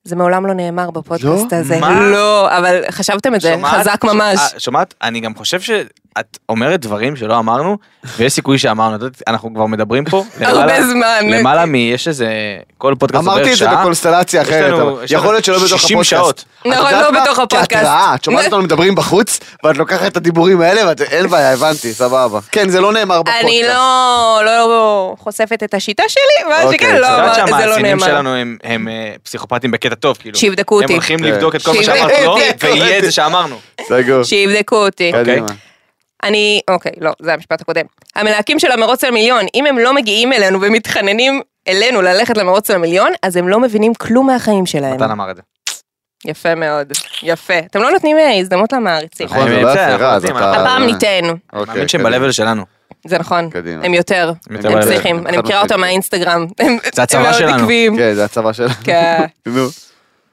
זה מעולם לא נאמר בפודקאסט
לא?
הזה.
מה?
לא, אבל חשבתם את זה,
שומעת?
חזק ממש.
אה, שומעת? אני גם חושב שאת אומרת דברים שלא אמרנו, ויש סיכוי שאמרנו. את יודעת, אנחנו כבר מדברים פה. למעלה-
הרבה זמן.
למעלה מ... יש איזה... כל פודקאסט עובר שעה.
אמרתי את זה בקונסטלציה
יש
אחרת,
לנו-
אבל
יש לנו
יכול להיות שלא בתוך
60
הפודקאסט.
שעות.
את יודעת
נכון, לא
מה?
בתוך הפודקאסט.
כהתראה, את שומעת אותנו מדברים בחוץ, ואת לוקחת את הדיבורים האלה, ואת- אין בעיה, הבנתי, סבבה. כן, זה לא נאמר בפודקאסט.
אני לא לא חושפת את השיטה שלי, מה
אוקיי,
שכן,
את
לא,
את יודעת
אמר- זה לא
שהמאזינים
נאמר.
שלנו הם- הם אה, פסיכופטים בקטע טוב, כאילו.
שיבדקו
הם
אותי.
הולכים
כן.
לבדוק את כל מה
שיבדקו
שאמרנו לו,
אותי.
ויהיה את זה שאמרנו.
סגור.
שיבדקו אותי.
כן.
קדימה.
אוקיי.
אני, אוקיי, לא, זה המשפט הקודם. המלהקים של המרוץ על מיליון, אם הם לא מגיעים אלינו ומתחננים אלינו ללכת למרוץ על מיליון, אז הם לא מבינים כלום מהחיים שלהם.
מתן אמר את זה.
יפה מאוד, יפה. אתם לא נותנים אה, הזדמנות למעריצים.
נכון, זה לא
האמת,
יפה,
אנחנו
רז,
יודעים,
אתה...
אנחנו-
הפעם ניתן,
אני
אוקיי,
מאמין שהם
קדימה.
בלבל שלנו.
זה נכון.
קדימה.
הם יותר,
הם יותר
הם
בלבל.
צריכים,
חד
אני מכירה
משמעית.
אותם מהאינסטגרם. הם-
זה הצבא
הם מאוד
שלנו.
עקביים.
כן, זה הצבא שלנו.
כן.
נו.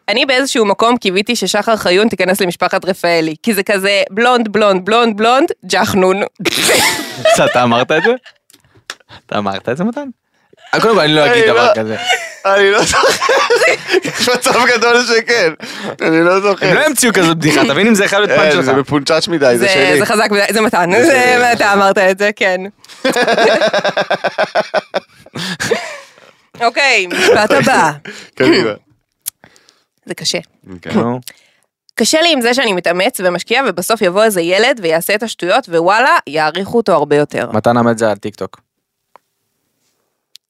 אני באיזשהו מקום קיוויתי ששחר חיון תיכנס למשפחת רפאלי, כי זה כזה בלונד, בלונד, בלונד, בלונד, ג'חנון.
אז אתה אמרת את זה? אתה אמרת את זה, מתן? אה, קודם כל, אני לא אגיד
אני
דבר
לא-
כזה.
אני לא זוכר. יש מצב גדול שכן. אני לא זוכר.
הם לא המציאו כזאת בדיחה, תבין אם אה, זה לא- יכול להיות פאנץ'
אין, זה
שלך.
מפונצ'ץ' מדי, זה
זה
שלי.
זה חזק, מדי, זה מתן, זה- אתה אמרת את זה, כן. אוקיי, משפט הבא.
קדימה. כן.
זה קשה.
נו,
קשה לי עם זה שאני מתאמץ ומשקיע ובסוף יבוא איזה ילד ויעשה את השטויות ווואלה, יעריכו אותו הרבה יותר.
מתן אמר את זה על טיקטוק.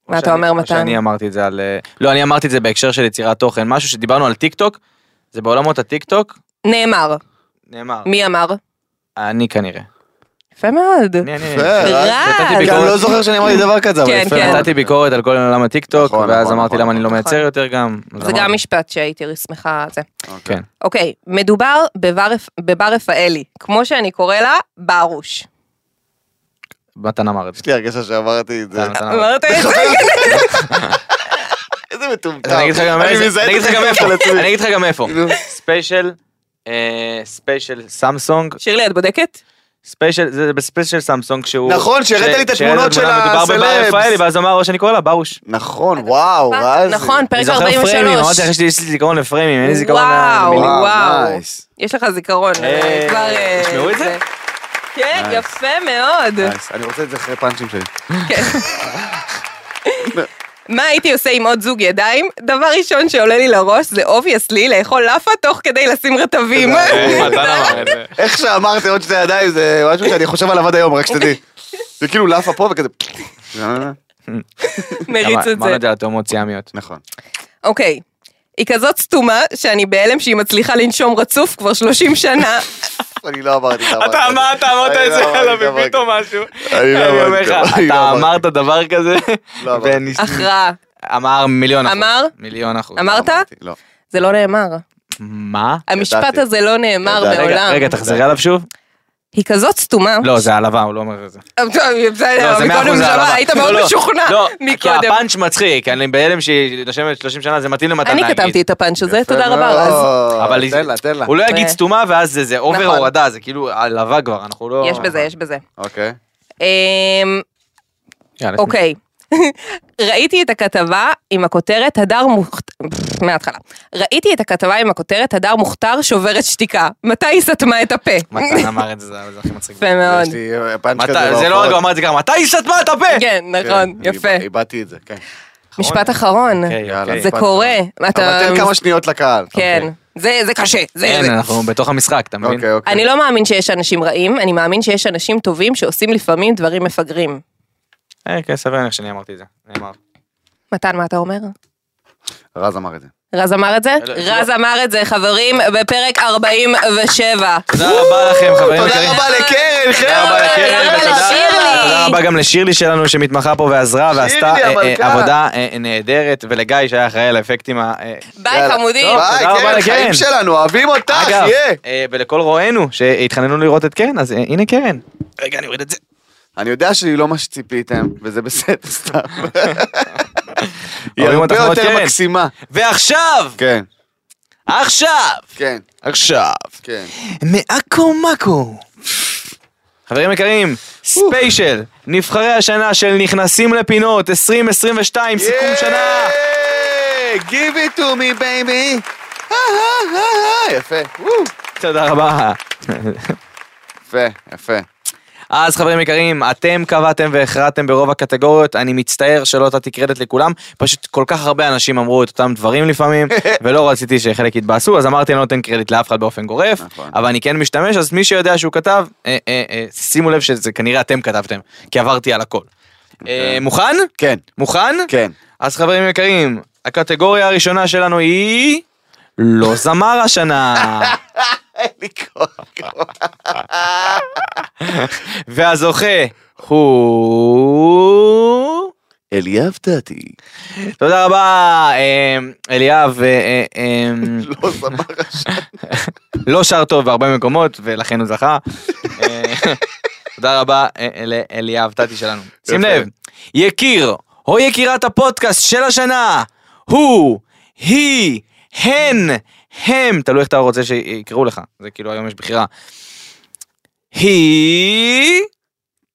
מה אתה
שאני-
אומר
או
מתן?
שאני אמרתי את זה על... אה, לא, אני אמרתי את זה בהקשר של יצירת תוכן. משהו שדיברנו על טיקטוק, זה אמ- בעולמות הטיקטוק,
נאמר.
נאמר.
מי אמר?
אני כנראה.
יפה מאוד.
אני, אני,
יפה,
אני-
רז.
נתתי
רז.
כי
ביקורת-
אני לא זוכר שאני אמרתי דבר כזה, אבל
כן,
יפה.
כן.
מאוד.
נתתי ביקורת על כל עולם הטיקטוק,
נכון,
ואז
נכון,
אמרתי
נכון.
למה אני לא מייצר
נכון.
יותר גם. אז
זה גם
אמרתי,
משפט שהייתי שמחה זה.
אוקיי.
כן.
אוקיי, מדובר בבר רפ- בבר רפאלי, כמו שאני קורא לה, בארוש.
מתן אמר את זה.
יש לי הרגשה שאמרתי את זה.
מתן אמר את זה.
אמרת את זה?
איזה מטומטם.
אז אני אגיד לך גם
אני
איזה-
מזהה
אני אגיד לך
את כאילו-
גם
הקטע
איפה,
של עצמי.
אני אגיד לך גם איפה.
נו.
ספיישל, אה, ספיישל סמסונג,
שירלי, את בודקת?
ספיישל, זה בספיישל סמסונג שהוא...
נכון, שהראית לי את
שהראית
התמונות של
התמונה, מדובר
הסלבס.
בבר רפאלי, ואז אמר או שאני קורא לה ברוש.
נכון, וואו, רז.
נכון,
אני
פרק
זוכר
43.
פריימים, אמרתי לך, יש לי- יש לי זיכרון לפריימים, אין לי זיכרון
וואו,
למילים.
וואו,
וואו.
נייס.
יש לך זיכרון.
היי,
כבר, אה,
תשמעו את זה? אה.
כן,
נייס.
יפה מאוד.
נייס, אני רוצה את זה אחרי פאנצ'ים שלי.
כן. מה הייתי עושה עם עוד זוג ידיים? דבר ראשון שעולה לי לראש זה אובייסלי לאכול לאפה תוך כדי לשים רטבים.
אה, מתן אמר את זה.
איך שאמרתי עוד שתי ידיים זה משהו שאני חושב עליו עד היום, רק שתדעי. זה כאילו לאפה פה וכזה...
מריץ את
אמרנו
זה.
את זה על תאומות סיאמיות.
נכון.
אוקיי. היא כזאת סתומה שאני בהלם שהיא מצליחה לנשום רצוף כבר 30 שנה.
אני לא אמרתי דבר כזה.
אתה אמרת, אמרת
אני
את
לא
זה
אמרתי
עליו,
דבר
הביא
כזה.
פתאום משהו.
אני לא
אני אומר
אמרתי
לך,
דבר כזה.
אתה אמרת דבר כזה,
לא אמרתי.
וניס-
הכרעה.
אמר מיליון אחוז.
אמר?
מיליון אחוז.
אמר? אמרת?
אמרתי, לא.
זה לא נאמר.
מה?
המשפט
ידעתי.
הזה לא נאמר
ידעתי.
רגע,
מעולם.
רגע, תחזרי עליו שוב?
היא כזאת סתומה.
לא, זה העלבה, הוא לא אומר את זה. לא, זה מאה
מקודם
אחוז
שמע,
העלבה.
היית
לא,
מאוד
לא,
משוכנע
לא, כי
מקודם.
הפאנץ' מצחיק, אני בהלם שהיא נושמת 30 שנה, זה מתאים למתן
אני
להגיד.
כתבתי את הפאנץ' הזה,
יפה
תודה רבה
מאוד.
רז.
אבל היא-
לא. תן לה, תן לה.
הוא לא יגיד
אה.
סתומה, ואז זה- זה אובר
נכון.
הורדה, זה כאילו העלבה כבר, אנחנו לא...
יש בזה, יש בזה.
אוקיי.
נכון. אמ,
יאללה,
אוקיי. ראיתי את הכתבה עם הכותרת הדר מוכתר, מההתחלה. ראיתי את הכתבה עם הכותרת הדר מוכתר שוברת שתיקה. מתי היא סתמה את הפה?
מתן אמר את זה, זה זה הכי מצחיק.
יפה מאוד.
יש לי אה, פאנץ'
מת-
כזה
זה לא
בהופעות.
רק הוא אמר את זה ככה, מתי היא סתמה את הפה?
כן,
כן,
נכון,
אני
יפה.
איבד- איבדתי את זה, כן.
משפט אחרון.
אוקיי,
יאללה.
אוקיי.
זה
משפט
קורה. אתה-
אבל תן כמה אוקיי. שניות לקהל.
כן. זה זה קשה. זה-
אין,
זה-
אנחנו בתוך המשחק, אתה מבין?
אוקיי, אוקיי.
אני לא מאמין שיש אנשים רעים, אני מאמין שיש אנשים טובים שעושים לפעמים דברים מפגרים.
אה, כן, סביר להניח שאני אמרתי את זה. נאמר.
מתן, מה אתה אומר? לא-
רז אמר את זה.
רז אמר את זה?
לא,
רז אמר את זה, חברים, בפרק 47.
תודה רבה לכם, חברים יקרים.
תודה רבה אוקיי. לקרן,
תודה רבה
חבר'ה.
לקרן,
תודה רבה
ותודה-
לשירלי.
תודה רבה גם לשירלי שלנו שמתמחה פה ועזרה ועשתה אה, אה,
המלכה.
עבודה אה, נהדרת, ולגיא שהיה אחראי על האפקטים ה... אה,
ביי
יאללה.
חמודים.
טוב.
ביי,
תודה רבה
קרן,
לקרן.
חיים שלנו, אוהבים אותך,
אגב,
יהיה.
אה, ולכל רואינו שהתחננו לראות את קרן, אז אה, הנה קרן. רגע, אני אוריד את זה.
אני יודע שהיא לא מה שציפיתם, וזה בסדר, סתם. היא
אוהבים
הרבה
אותך מאוד,
יותר
קרן.
מקסימה.
ועכשיו!
כן,
עכשיו!
כן,
עכשיו!
כן.
מעכו מכו. חברים יקרים, ספיישל, נבחרי השנה של נכנסים לפינות 2022, סיכום שנה.
Yeah! Give it to me, baby. אה, אה, אה, אה, יפה, וואו.
תודה רבה.
יפה, יפה.
אז חברים יקרים, אתם קבעתם והכרעתם ברוב הקטגוריות, אני מצטער שלא נתתי קרדיט לכולם, פשוט כל כך הרבה אנשים אמרו את אותם דברים לפעמים, ולא רציתי שחלק יתבאסו, אז אמרתי אני לא נותן קרדיט לאף אחד באופן גורף,
נכון.
אבל אני כן משתמש, אז מי שיודע שהוא כתב, אה, אה, אה, שימו לב שזה כנראה אתם כתבתם, כי עברתי על הכל. אה, מוכן?
כן,
מוכן?
כן.
אז חברים יקרים, הקטגוריה הראשונה שלנו היא... לא זמר השנה,
אין לי כוח.
והזוכה הוא...
אליאב דעתי.
תודה רבה, אה, אליאב, אה, אה, אה,
לא זמר השנה.
לא שר טוב בהרבה מקומות, ולכן הוא זכה. אה, תודה רבה אה, לאליאב, תתי שלנו. שים
יפה.
לב, יקיר או יקירת הפודקאסט של השנה, הוא, היא, הן, הם, תלוי איך אתה רוצה שיקראו לך, זה כאילו היום יש בחירה. היא...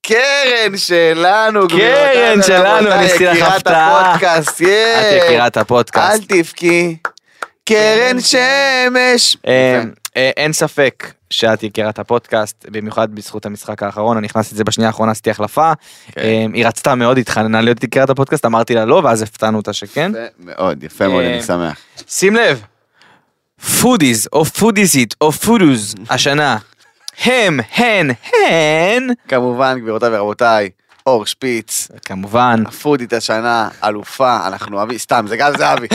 קרן שלנו, גבירותיי
קרן שלנו,
ורבותיי,
ניסיתי לך
יקירת
הפתעה.
הפודקאסט,
את
יאה.
יקירת
אה, אל
הפודקאסט. כן,
תבכי, קרן שמש.
אה,
יפה.
אה, אין ספק שאת יקירת הפודקאסט, במיוחד בזכות המשחק האחרון, אני נכנסתי את זה בשנייה האחרונה, עשיתי החלפה.
כן.
אה, היא רצתה מאוד, התחננה להיות יקירת הפודקאסט, אמרתי לה לא, ואז הפתענו אותה שכן.
יפה מאוד, יפה מאוד,
אה,
אני שמח.
שים לב, פודיז או פודיזית או פודוז השנה, הם, הן, הן,
כמובן, גבירותיי ורבותיי, אור שפיץ,
כמובן,
הפודית השנה, אלופה, אנחנו אוהבים, סתם, זה גל זהבי.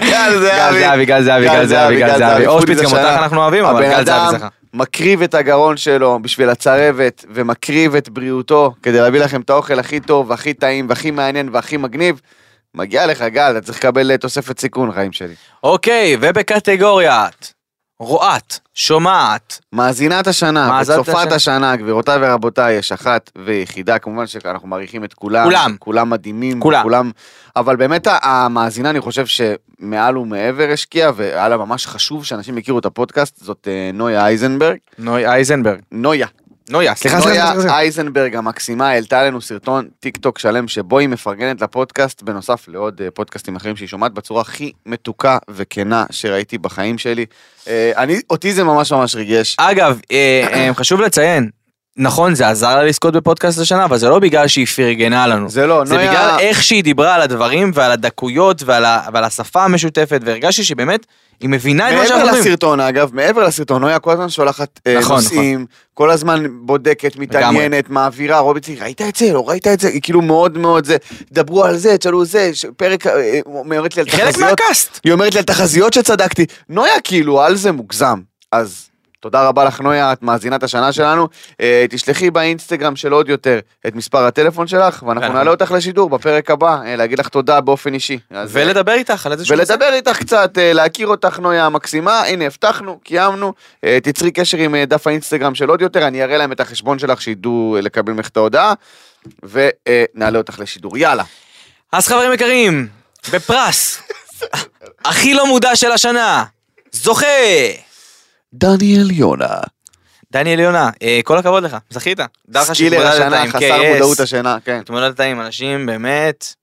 גל
גל זהבי, גל זהבי, גל זהבי, גל זהבי. אור
פודית
שפיץ, גם
השנה.
אותך אנחנו אוהבים, אבל
הבן
גל זהבי
אדם
זכה.
מקריב את הגרון שלו בשביל הצרבת, ומקריב את בריאותו כדי להביא לכם את האוכל הכי טוב, והכי טעים, והכי מעניין, והכי מגניב, מגיע לך, גל, אתה צריך לקבל אה, תוספת סיכון, חיים שלי.
אוקיי, ובקטגוריית רואת, שומעת,
מאזינת השנה,
מאזינת
וצופת
השנה.
השנה, גבירותיי ורבותיי, יש אחת ויחידה, כמובן שאנחנו מעריכים את כולם.
כולם.
כולם מדהימים.
כולם.
כולם. אבל באמת ה- המאזינה, אני חושב שמעל ומעבר השקיעה, והיה לה ממש חשוב שאנשים יכירו את הפודקאסט, זאת אה, נויה אייזנברג.
נוי אייזנברג.
נויה.
נויה, סליחה, סליחה, סליחה,
נויה
סליחה.
אייזנברג המקסימה העלתה לנו סרטון טיק טוק שלם שבו היא מפרגנת לפודקאסט בנוסף לעוד אה, פודקאסטים אחרים שהיא שומעת בצורה הכי מתוקה וכנה שראיתי בחיים שלי. אה, אני, אותי זה ממש ממש ריגש.
אגב, אה, אה, חשוב לציין, נכון, זה עזר לה לזכות בפודקאסט השנה, אבל זה לא בגלל שהיא פרגנה לנו.
זה לא,
זה
נויה...
בגלל איך שהיא דיברה על הדברים ועל הדקויות ועל, ה, ועל השפה המשותפת, והרגשתי שבאמת, היא מבינה את מה שאנחנו
מעבר
אומרים.
לסרטון אגב, מעבר לסרטון, נויה כל הזמן שולחת אה,
נכון,
נושאים, כל הזמן בודקת, מתעניינת, מעבירה, רובי צי, ראית את זה, לא ראית את זה, היא כאילו מאוד מאוד זה, דברו על זה, תשאלו זה, ש- פרק, אה, אה, אומרת לי על
היא חלק
תחזיות,
מהקאסט.
היא אומרת לי על תחזיות שצדקתי, נויה כאילו, על זה מוגזם, אז... תודה רבה לך נויה, את מאזינת השנה שלנו. אה, תשלחי באינסטגרם של עוד יותר את מספר הטלפון שלך, ואנחנו
ואנחנו-
נעלה אותך לשידור בפרק הבא, אה, להגיד לך תודה באופן אישי. אז, אה,
ולדבר איתך על איזה שהוא...
ולדבר איתך קצת, אה, להכיר אותך נויה המקסימה, הנה הבטחנו, קיימנו, אה, תצרי קשר עם אה, דף האינסטגרם של עוד יותר, אני אראה להם את החשבון שלך שידעו אה, לקבל ממך את ההודעה, ונעלה אותך לשידור, יאללה.
אז חברים יקרים, בפרס, הכי לא מודע של השנה, זוכה!
דניאל יונה.
דניאל יונה, אה, כל הכבוד לך, זכית. דע לך
סקילר
שהתמודדת
השנה,
עם
חסר
KS,
מודעות השנה, כן.
התמודדת עם אנשים באמת...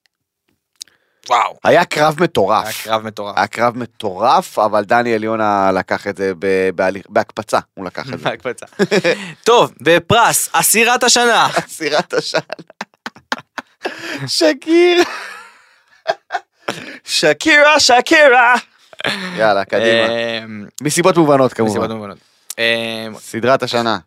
וואו,
היה קרב מטורף.
היה קרב מטורף.
היה קרב מטורף, אבל דניאל יונה לקח את זה ב- בהליך- בהקפצה, הוא לקח את זה.
מהקבצה. טוב, בפרס, אסירת השנה.
סירת השאלה. שקירה.
שקירה, שקירה.
יאללה, קדימה.
אמ,
מסיבות מובנות
מסיבות
כמובן.
מובנות. אמ,
סדרת השנה.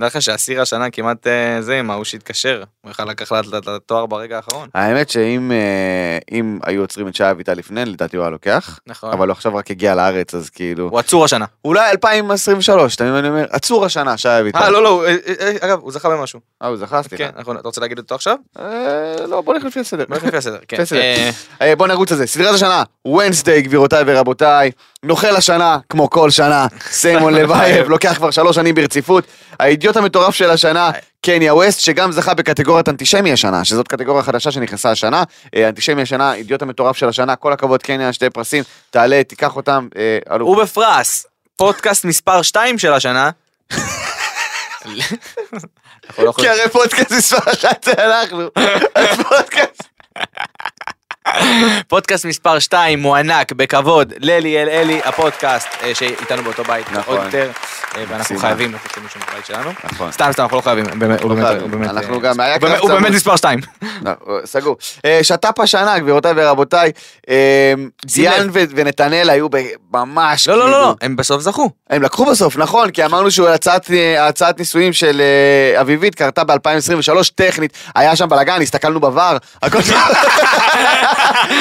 דע לך שהסיר השנה כמעט אה, זה עם ההוא שהתקשר. הוא בכלל לקח לה את התואר ברגע האחרון.
האמת שאם אה, אם היו עוצרים את שי אביטל לפני, לדעתי הוא היה לוקח.
נכון.
אבל הוא עכשיו רק הגיע לארץ, אז כאילו...
הוא עצור השנה.
אולי 2023, אתה מבין מה אני אומר? עצור השנה, שי אביטל.
אה, לא, לא, הוא- אה, אה, אגב, הוא זכה במשהו.
אה, הוא זכה,
כן,
סליחה.
נכון. אתה רוצה להגיד אותו עכשיו?
אה, לא, בוא נלך לפי הסדר.
בוא נלך לפי הסדר, כן.
לפי הסדר.
אה,
אה, בוא נרוץ על זה. סדרת השנה, ונסדיי, גבירותיי ורבותיי. נוכל השנה, כמו כל שנה, סיימון לבייב, לוקח כבר שלוש שנים ברציפות. האידיוט המטורף של השנה, קניה ווסט, שגם זכה בקטגוריית אנטישמי השנה, שזאת קטגוריה חדשה שנכנסה השנה. אה, אנטישמי השנה, אידיוט המטורף של השנה, כל הכבוד קניה, שתי פרסים, תעלה, תיקח אותם, אה, אלוף.
הוא בפרס, פודקאסט מספר 2 של השנה. אנחנו לא
כי
יכולים-
הרי פודקאסט מספר אחת זה אנחנו. אז פודקאסט.
פודקאסט מספר 2 מוענק בכבוד לליאל אלי, הפודקאסט אה, שאיתנו באותו בית,
נכון.
עוד יותר, אה, ואנחנו
מקסימה.
חייבים לתת למישהו מהבית שלנו.
נכון.
סתם, סתם, אנחנו לא חייבים, הוא באמת- הוא באמת-
חייבים.
הוא באמת,
אנחנו
אה,
גם- היה
הוא באמת-
קרב
הוא באמת
צמוד.
מספר 2.
לא, סגור. אה, שת"פ השנה, גבירותיי ורבותיי, אה, דיאן ו- ונתנאל היו ב- ממש
לא, לא,
כאילו-
לא, לא, הם בסוף זכו.
הם לקחו בסוף, נכון, כי אמרנו שהצעת הצעת נישואים של אה, אביבית קרתה ב-2023, טכנית, היה שם בלאגן, הסתכלנו בVAR, הכל שם,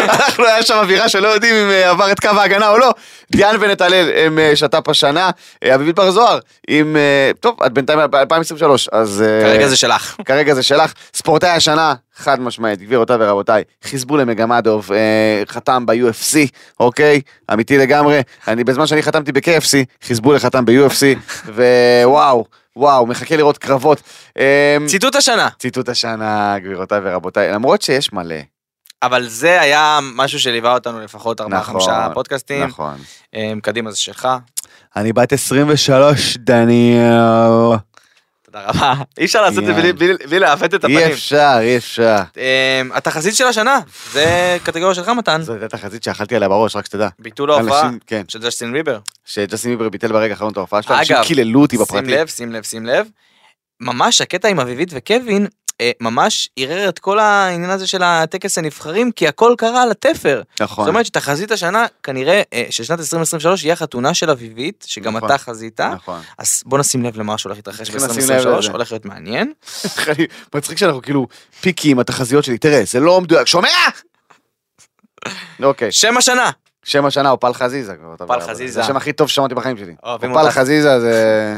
אנחנו, היה שם אווירה שלא יודעים אם אה, עבר את קו ההגנה או לא. דיאן ונתנאל הם אה, שת"פ השנה, אה, אביבית בר זוהר, עם, אה, טוב, את בינתיים ב-2023, אז... אה,
כרגע זה שלך.
כרגע זה שלך. ספורטאי השנה, חד משמעית, גבירותיי ורבותיי, חיזבו למגמדוב, אה, חתם ב-UFC, אוקיי? אמיתי לגמרי. אני, בזמן שאני חתמתי ב-KFC, חיזבו לחתם ב-UFC, ווואו, וואו, מחכה לראות קרבות. אה,
ציטוט השנה.
ציטוט השנה, גבירותיי ורבותיי, למרות שיש מלא.
אבל זה היה משהו שליווה אותנו לפחות 4-5 פודקאסטים.
נכון.
אה, קדימה זה שלך,
אני בת 23, דניאל.
תודה רבה. אי אפשר לעשות את זה
יאללה.
בלי- בלי- בלי לעוות את
כן. אי
הפנים.
אפשר, אי אפשר.
אמ, התחזית של השנה, זה קטגוריה שלך מתן,
זו הייתה תחזית שאכלתי עליה בראש, רק שתדע.
ביטול ההופעה
אנשים- כן.
של ג'סטין ביבר.
שג'סטין ביבר ביטל ברגע האחרון את ההופעה שלו,
אגב,
אנשים קיללו אותי
שים
בפרטי.
לב, שים לב, שים לב. ממש הקטע עם אביבית וקווין, אה, ממש ערער את כל העניין הזה של הטקס הנבחרים, כי הכל קרה על התפר.
נכון.
זאת אומרת שתחזית השנה, כנראה אה, ששנת 2023 יהיה החתונה של אביבית, שגם
נכון.
אתה חזית,
נכון.
אז בוא נשים לב למה שהולך להתרחש
צריכים לשים לב לזה.
ב-2023, הולך להיות מעניין.
אני- מצחיק שאנחנו כאילו פיקי עם התחזיות שלי, תראה, זה לא מדויק, שומע? אוקיי,
שם השנה,
שם השנה הוא פל חזיזה. כבר, אתה
פל
יודע,
חזיזה.
זה השם הכי טוב ששמעתי בחיים שלי.
אוהבים
פל
אותך.
חזיזה זה...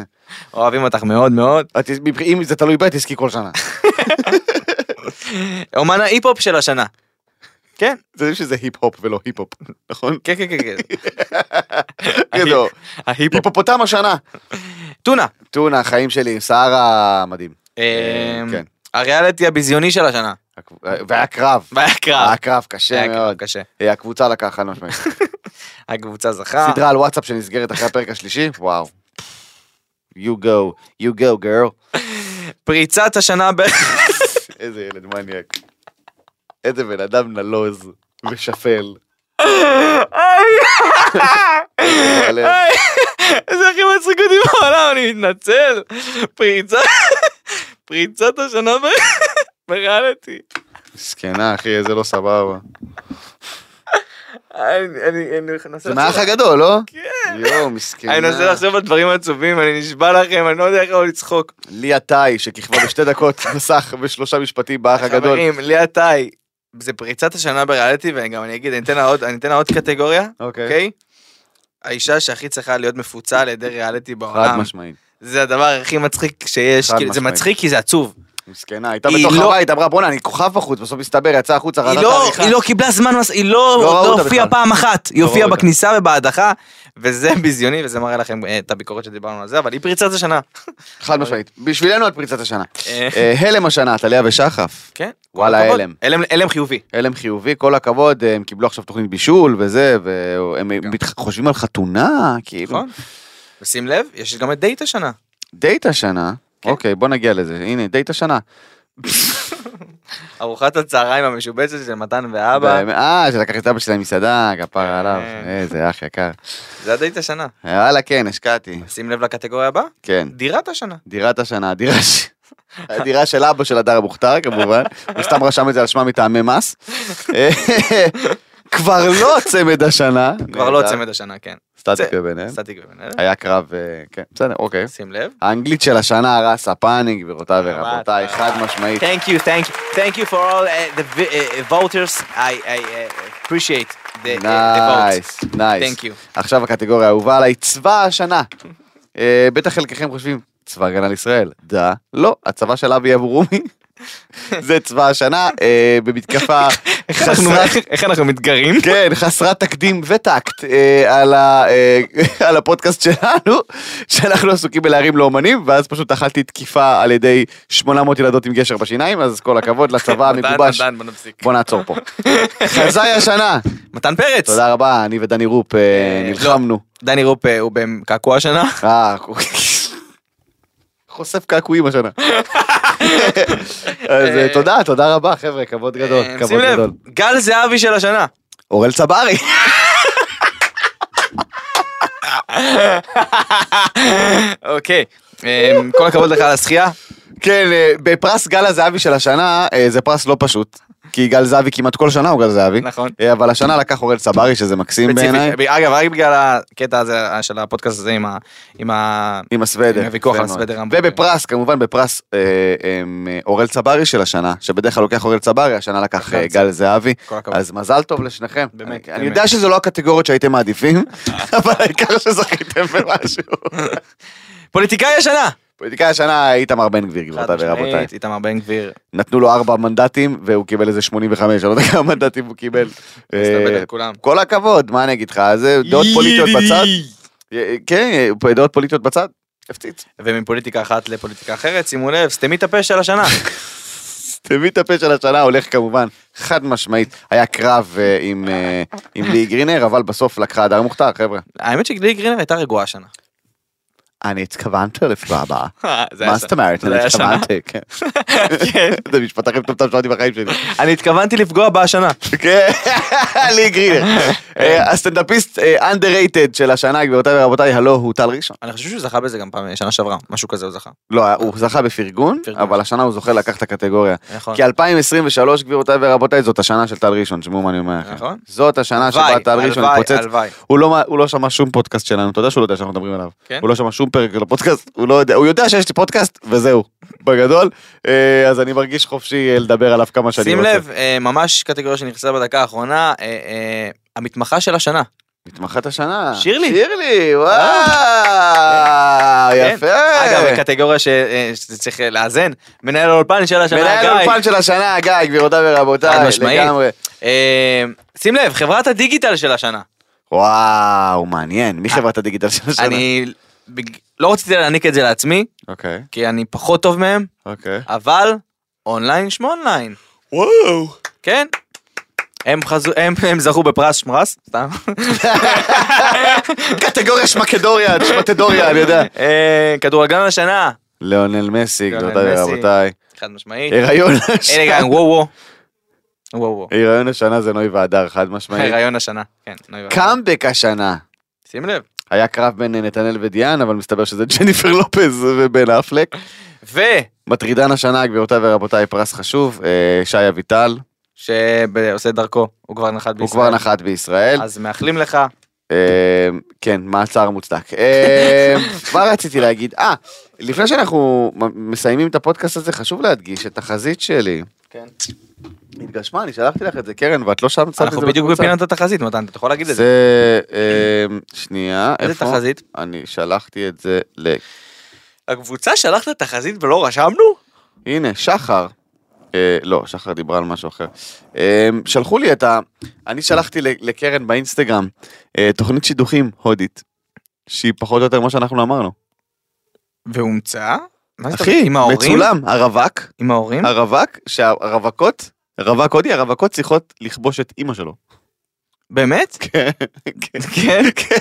אוהבים אותך מאוד מאוד.
את- מבח- אם זה תלוי בי, תזכי כל שנה.
אומן ההיפ-הופ של השנה. כן,
זה יודעים שזה היפ-הופ ולא היפ-הופ, נכון?
כן, כן, כן, כן.
גדול.
ההיפ-הופ.
היפופוטם השנה.
טונה.
טונה, חיים שלי, סערה מדהים.
אה,
כן.
הריאליטי הביזיוני של השנה.
והיה קרב.
והיה קרב.
היה קרב קשה
היה קרב
מאוד.
קשה.
אה, הקבוצה לקחה חד משמעית.
הקבוצה זכה.
סדרה על וואטסאפ שנסגרת אחרי הפרק השלישי, וואו. You go, you go girl.
פריצת השנה ב...
איזה ילד מניאק. איזה בן אדם נלוז ושפל.
אה,
אבל, אה,
זה הכי מצחיק אותי בעולם, אני מתנצל. פריצה... פריצת השנה ב... בריאליטי.
זקנה אחי, איזה לא סבבה.
אני- אני אני מנסה
זה
לחשוב-
מהאח הגדול, לא?
כן.
יואו, מסכנה.
אני מנסה לחשוב על דברים עצובים, אני נשבע לכם, אני לא יודע איך לא לצחוק.
ליה טאי, שכיכבה בשתי דקות מסך בשלושה משפטים באח הגדול.
חברים, ליה טאי, זה פריצת השנה בריאליטי, וגם אני אגיד, אני אתן לה עוד- אני אתן לה עוד קטגוריה,
אוקיי.
אוקיי? האישה שהכי צריכה להיות מפוצה על ידי ריאליטי
חד
בעולם.
משמעית.
זה הדבר הכי מצחיק שיש,
חד
כאילו, זה
משמעית.
מצחיק כי זה עצוב.
מסכנה, הייתה
היא
בתוך
לא-
הבית, אמרה בואנה, אני כוכב בחוץ, בסוף מסתבר, יצא החוצה,
היא
רעדת
לא,
העריכה.
היא לא קיבלה זמן, מס- היא לא,
לא ראו
לא
אותה
הופיעה
בכלל.
פעם אחת, היא
לא ראו
הופיעה
אותה.
בכניסה ובהדחה, וזה ביזיוני, וזה מראה לכם אה, את הביקורת שדיברנו על זה, אבל היא פריצת השנה.
חד משמעית. בשבילנו את פריצת השנה.
אה,
אה, הלם השנה, טליה ושחף.
כן?
וואלה,
כל הכבוד.
הלם.
הלם. הלם חיובי.
הלם חיובי, כל הכבוד, אה, הם קיבלו עכשיו תוכנית בישול וזה, והם
גם.
מתח- חושבים על חתונה, כאילו.
כן. נכון. ושים לב, יש גם את דייט השנה.
דייט השנה,
כן.
אוקיי, בוא נגיע לזה, הנה, דייט השנה.
ארוחת הצהריים המשובצת של מתן ואבא,
באמת, אה, שלקח את אבא שלי למסעדה,
אה.
כפרה עליו, איזה אח יקר.
זה הדייט השנה.
יאללה, כן, השקעתי,
שים לב לקטגוריה הבאה,
כן.
דירת השנה.
דירת השנה, הדירה ש... הדירה של אבא של הדר המוכתר כמובן, הוא סתם רשם את זה על שמה מטעמי מס. אה, כבר לא צמד השנה.
כבר לא
נהדר.
צמד השנה, כן.
סטטיקה ביניהם.
סטטיק ובן-אלה.
היה קרב, אה, כן, בסדר, אוקיי.
שים לב.
האנגלית של השנה הרסה פאניק, גבירותיי ורבותיי,
ממש.
חד משמעית.
Thank you, thank you, thank you for all uh, the vi- uh, voters. I, I uh, appreciate the, uh, the votes.
נייס, נייס.
Thank you.
עכשיו הקטגוריה האהובה עליי, צבא השנה. אה, בטח חלקכם חושבים, צבא הגנה לישראל. דה, לא, הצבא של אבי אבו רומי. זה צבא השנה, אה, במתקפה חסרת
איך אנחנו מתגרים?
כן, חסרת תקדים וטקט אה, על, ה, אה, על הפודקאסט שלנו, שאנחנו עסוקים בלהרים לאומנים, ואז פשוט אכלתי תקיפה על ידי 800 ילדות עם גשר בשיניים, אז כל הכבוד
כן,
לצבא המגובש.
מתן, בוא נפסיק.
בוא נעצור פה. חזאי השנה,
מתן פרץ.
תודה רבה, אני ודני רופ אה,
אה,
נלחמנו.
דני רופ אה, הוא בקעקוע השנה.
אה, חושף קעקועים השנה. אז אה, תודה, תודה רבה חבר'ה, כבוד גדול,
אה,
כבוד
שים לב,
גדול.
גל זהבי של השנה.
אורל צברי.
אוקיי. אה, כל הכבוד לך על הזכייה.
כן, אה, בפרס גל הזהבי של השנה, אה, זה פרס לא פשוט. כי גל זהבי כמעט כל שנה הוא גל זהבי.
נכון. אה,
אה, אבל השנה לקח אורל צברי, שזה מקסים בעיניי.
ספציפית. אגב, רק בגלל הקטע הזה אה, של הפודקאסט הזה עם ה- עם ה...
עם הסוודר.
עם הוויכוח אה, על
יפה מאוד.
הסוודר המבוקר.
ובפרס, כמובן בפרס אה, אה, אה, אורל צברי של השנה, שבדרך כלל לוקח אורל צברי, השנה לקח אה, גל זהבי.
נכון. כל הכבוד.
אז מזל טוב לשניכם.
באמת,
אני- אני
באמת.
יודע שזה לא הקטגוריות שהייתם מעדיפים, אבל העיקר שזכיתם במשהו.
פוליטיקאי השנה.
פוליטיקאי השנה איתמר בן גביר, גבירותיי ורבותיי.
חד-משמעית, איתמר בן גביר.
נתנו לו ארבע מנדטים והוא קיבל איזה 85, אני לא יודע כמה מנדטים הוא קיבל.
מסתבד
אה,
על כולם.
כל הכבוד, מה אני אגיד לך, זה דעות פוליטיות בצד, אה, כן, אה, דעות פוליטיות בצד, הפציץ.
ומפוליטיקה אחת לפוליטיקה אחרת, שימו לב, סתמי את הפה של השנה.
תביא את הפה של השנה, הולך כמובן, חד משמעית, היה קרב אה, עם, אה, עם לי גרינר, אבל בסוף לקחה הדר מוכתר, חבר'ה.
האמת שגלי גרינר הייתה רגועה השנה.
אני התכוונתי לפגוע בה.
אה, זה היה
מה
ש-
זאת אומרת,
זה
אני
היה שנה.
התכוונתי, כן.
כן.
זה משפט הכי מטומטם שמעתי בחיים שלי.
אני התכוונתי לפגוע בה השנה.
כן, לי גרינר. אה, הסטנדאפיסט אנדררייטד של השנה, גבירותיי ורבותיי, הלו הוא טל ראשון.
אני חושב שהוא זכה בזה גם פעם, שנה שעברה, משהו כזה הוא זכה.
לא, הוא זכה בפרגון,
פרגון.
אבל השנה הוא זוכה לקח את הקטגוריה.
נכון.
כי 2023, גבירותיי ורבותיי, זאת השנה של טל ראשון, שמעו מה אני אומר לכם.
נכון.
זאת השנה שבה
הלוואי,
טל ראשון
הלוואי,
התפוצץ.
הלוואי.
הוא לא- הוא לא שמע שום פודקאסט שלנו, אתה יודע שהוא לא יודע שאנחנו מדברים עליו.
כן?
הוא לא שמע שום פרק של הפודקאסט, הוא לא יודע, הוא יודע שיש לי פודקאסט, וזהו, בגדול. אה, אז אני מרגיש חופשי אה, לדבר עליו כמה שאני
שים
רוצה.
לב, אה, ממש קטגוריה שנכנסה בדקה האחרונה, אה, אה, המתמחה של השנה.
מתמחת השנה.
שירלי. אה.
שירלי, וואו, יפה.
כן. אגב, בקטגוריה ש- אה, שצריך אה, לאזן, מנהל האולפן של השנה,
מנהל
גיא.
האולפן של השנה, גיא, גבירותיי ורבותיי.
חד משמעית.
לגמרי.
אה, שים לב, חברת הדיגיטל של השנה.
וואו, מעניין, מי חברת הדיגיטל של השנה?
אה. אני בג- לא רציתי להעניק את זה לעצמי,
אוקיי,
כי אני פחות טוב מהם,
אוקיי.
אבל אונליין שמונליין.
וואו.
כן. הם, חזו, הם, הם זכו בפרס שמרס, סתם.
קטגוריה שמקדוריה, שמטדוריה, אני יודע.
אה, כדורגלן השנה,
ליאונל מסי,
ליאונל
גבירותיי
מסי. אה.
ורבותיי.
חד משמעית.
הריון
אלה
השנה.
גם, וואו וואו. וואו
אה,
וואו.
הריון השנה זה נוי והדר, חד משמעית.
הריון השנה, כן. נוי ואבוי.
קאמבק השנה.
שים לב.
היה קרב בין אה, נתנאל ודיאן, אבל מסתבר שזה ג'ניפר לופז ובן אפלק.
ו...
מטרידן השנה, גבירותיי ורבותיי, פרס חשוב, אה, שי אביטל,
שעושה דרכו, הוא כבר נחת בישראל.
הוא כבר נחת בישראל.
אז מאחלים לך.
אה, כן, מעצר מוצדק. אה, מה רציתי להגיד? אה, לפני שאנחנו מ- מסיימים את הפודקאסט הזה, חשוב להדגיש את החזית שלי.
כן.
התגשמה, אני שלחתי לך את זה, קרן, ואת לא שם, שמת את
אנחנו
זה
בדיוק
בקבוצה.
בפינת התחזית, מתן, אתה יכול להגיד את זה.
זה, אה, שנייה,
איזה
איפה?
תחזית?
אני שלחתי את זה ל...
הקבוצה שלחת תחזית ולא רשמנו?
הנה, שחר. אה, לא, שחר דיברה על משהו אחר. אה, שלחו לי את ה... אני שלחתי ל- לקרן באינסטגרם אה, תוכנית שידוכים הודית, שהיא פחות או יותר מה שאנחנו אמרנו.
והומצא? מה זה
אחי,
עם ההורים? כן.
מצולם, אה, הרווק,
עם ההורים?
הרווק, שהרווקות, רווק הודי, הרווקות צריכות לכבוש את אימא שלו.
באמת?
כן, כן, כן.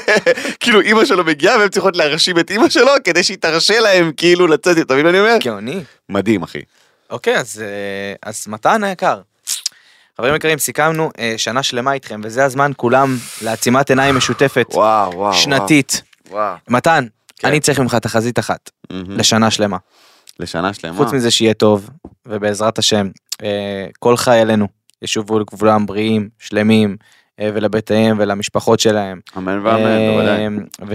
כאילו אימא שלו מגיעה והן צריכות להרשים את אימא שלו כדי שהיא תרשה להם כאילו לצאת, אתה מבין מה אני אומר?
גאוני.
מדהים אחי.
אוקיי, אז, אה, אז מתן היקר. חברים יקרים, סיכמנו אה, שנה שלמה איתכם, וזה הזמן כולם לעצימת עיניים משותפת,
וואו, וואו.
שנתית.
וואו.
מתן,
כן. Mm.
אני צריך ממך תחזית אחת,
מהמם.
לשנה שלמה.
לשנה שלמה.
חוץ מזה שיהיה טוב, ובעזרת השם, אה, כל חיילינו ישובו לגבולם בריאים, שלמים, אה, ולבתיהם ולמשפחות שלהם.
אמן ואמן,
אמ,
בוודאי.
אה,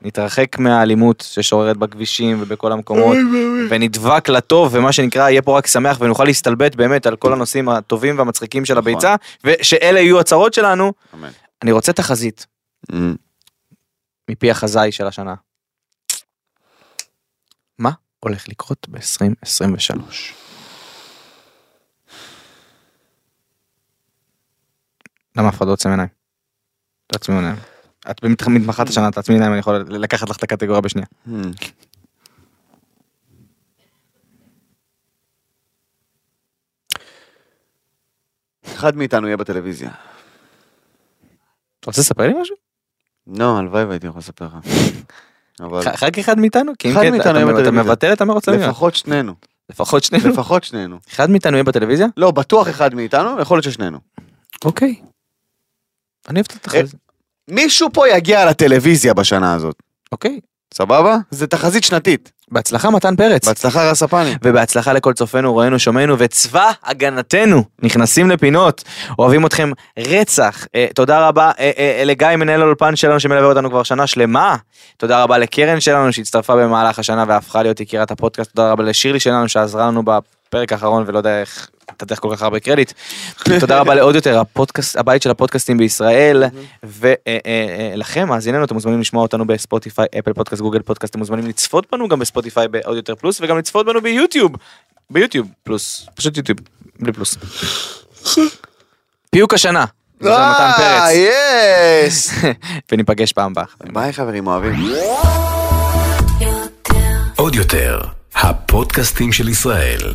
ושנתרחק מהאלימות ששוררת בכבישים ובכל המקומות, ונדבק לטוב, ומה שנקרא, יהיה פה רק שמח, ונוכל להסתלבט באמת על כל הנושאים הטובים והמצחיקים של
נכון.
הביצה, ושאלה יהיו הצרות שלנו.
אמן.
אני רוצה תחזית מפי החזאי של השנה. מה הולך לקרות ב-2023? למה אף אחד לא עוצם עיניים? תעצמי עיניים. את באמת- מתמחת השנה, תעצמי עיניים, אני יכול לקחת לך את הקטגוריה בשנייה.
אמ. אחד מאיתנו יהיה בטלוויזיה.
אתה רוצה לספר לי משהו?
לא, הלוואי והייתי יכול לספר לך. אבל
ח- רק אחד מאיתנו? כי אם
אחד
כן,
מאיתנו
אתה-
יהיה
אתה
בטלוויזיה.
מבטל את המרוץ למיליון.
לפחות שנינו.
לפחות שנינו.
לפחות שנינו.
אחד מאיתנו יהיה בטלוויזיה?
לא, בטוח אחד מאיתנו, יכול להיות ששנינו.
אוקיי. אה. אני אוהב את התחזית.
מישהו פה יגיע לטלוויזיה בשנה הזאת.
אוקיי.
סבבה? זה תחזית שנתית.
בהצלחה מתן פרץ.
בהצלחה רספני.
ובהצלחה לכל צופינו, רואינו, שומעינו, וצבא הגנתנו נכנסים לפינות. אוהבים אתכם רצח. אה, תודה רבה אה, אה, לגיא, מנהל האולפן שלנו, שמלווה אותנו כבר שנה שלמה. תודה רבה לקרן שלנו, שהצטרפה במהלך השנה והפכה להיות יקירת הפודקאסט. תודה רבה לשירלי שלנו, שעזרה לנו בפרק האחרון, ולא יודע איך... תתח כל כך הרבה קרדיט. תודה רבה לעוד יותר, הפודקאסט, הבית של הפודקאסטים בישראל, ולכם, מאזיננו, אתם מוזמנים לשמוע אותנו בספוטיפיי, אפל פודקאסט, גוגל פודקאסט, אתם מוזמנים לצפות בנו גם בספוטיפיי בעוד יותר פלוס, וגם לצפות בנו ביוטיוב, ביוטיוב פלוס, פשוט יוטיוב, בלי פלוס. פיוק השנה, זה מתן
אה,
פרץ,
יס!
וניפגש פעם הבאה.
ביי חברים, אוהבים.
עוד יותר, הפודקאסטים של ישראל.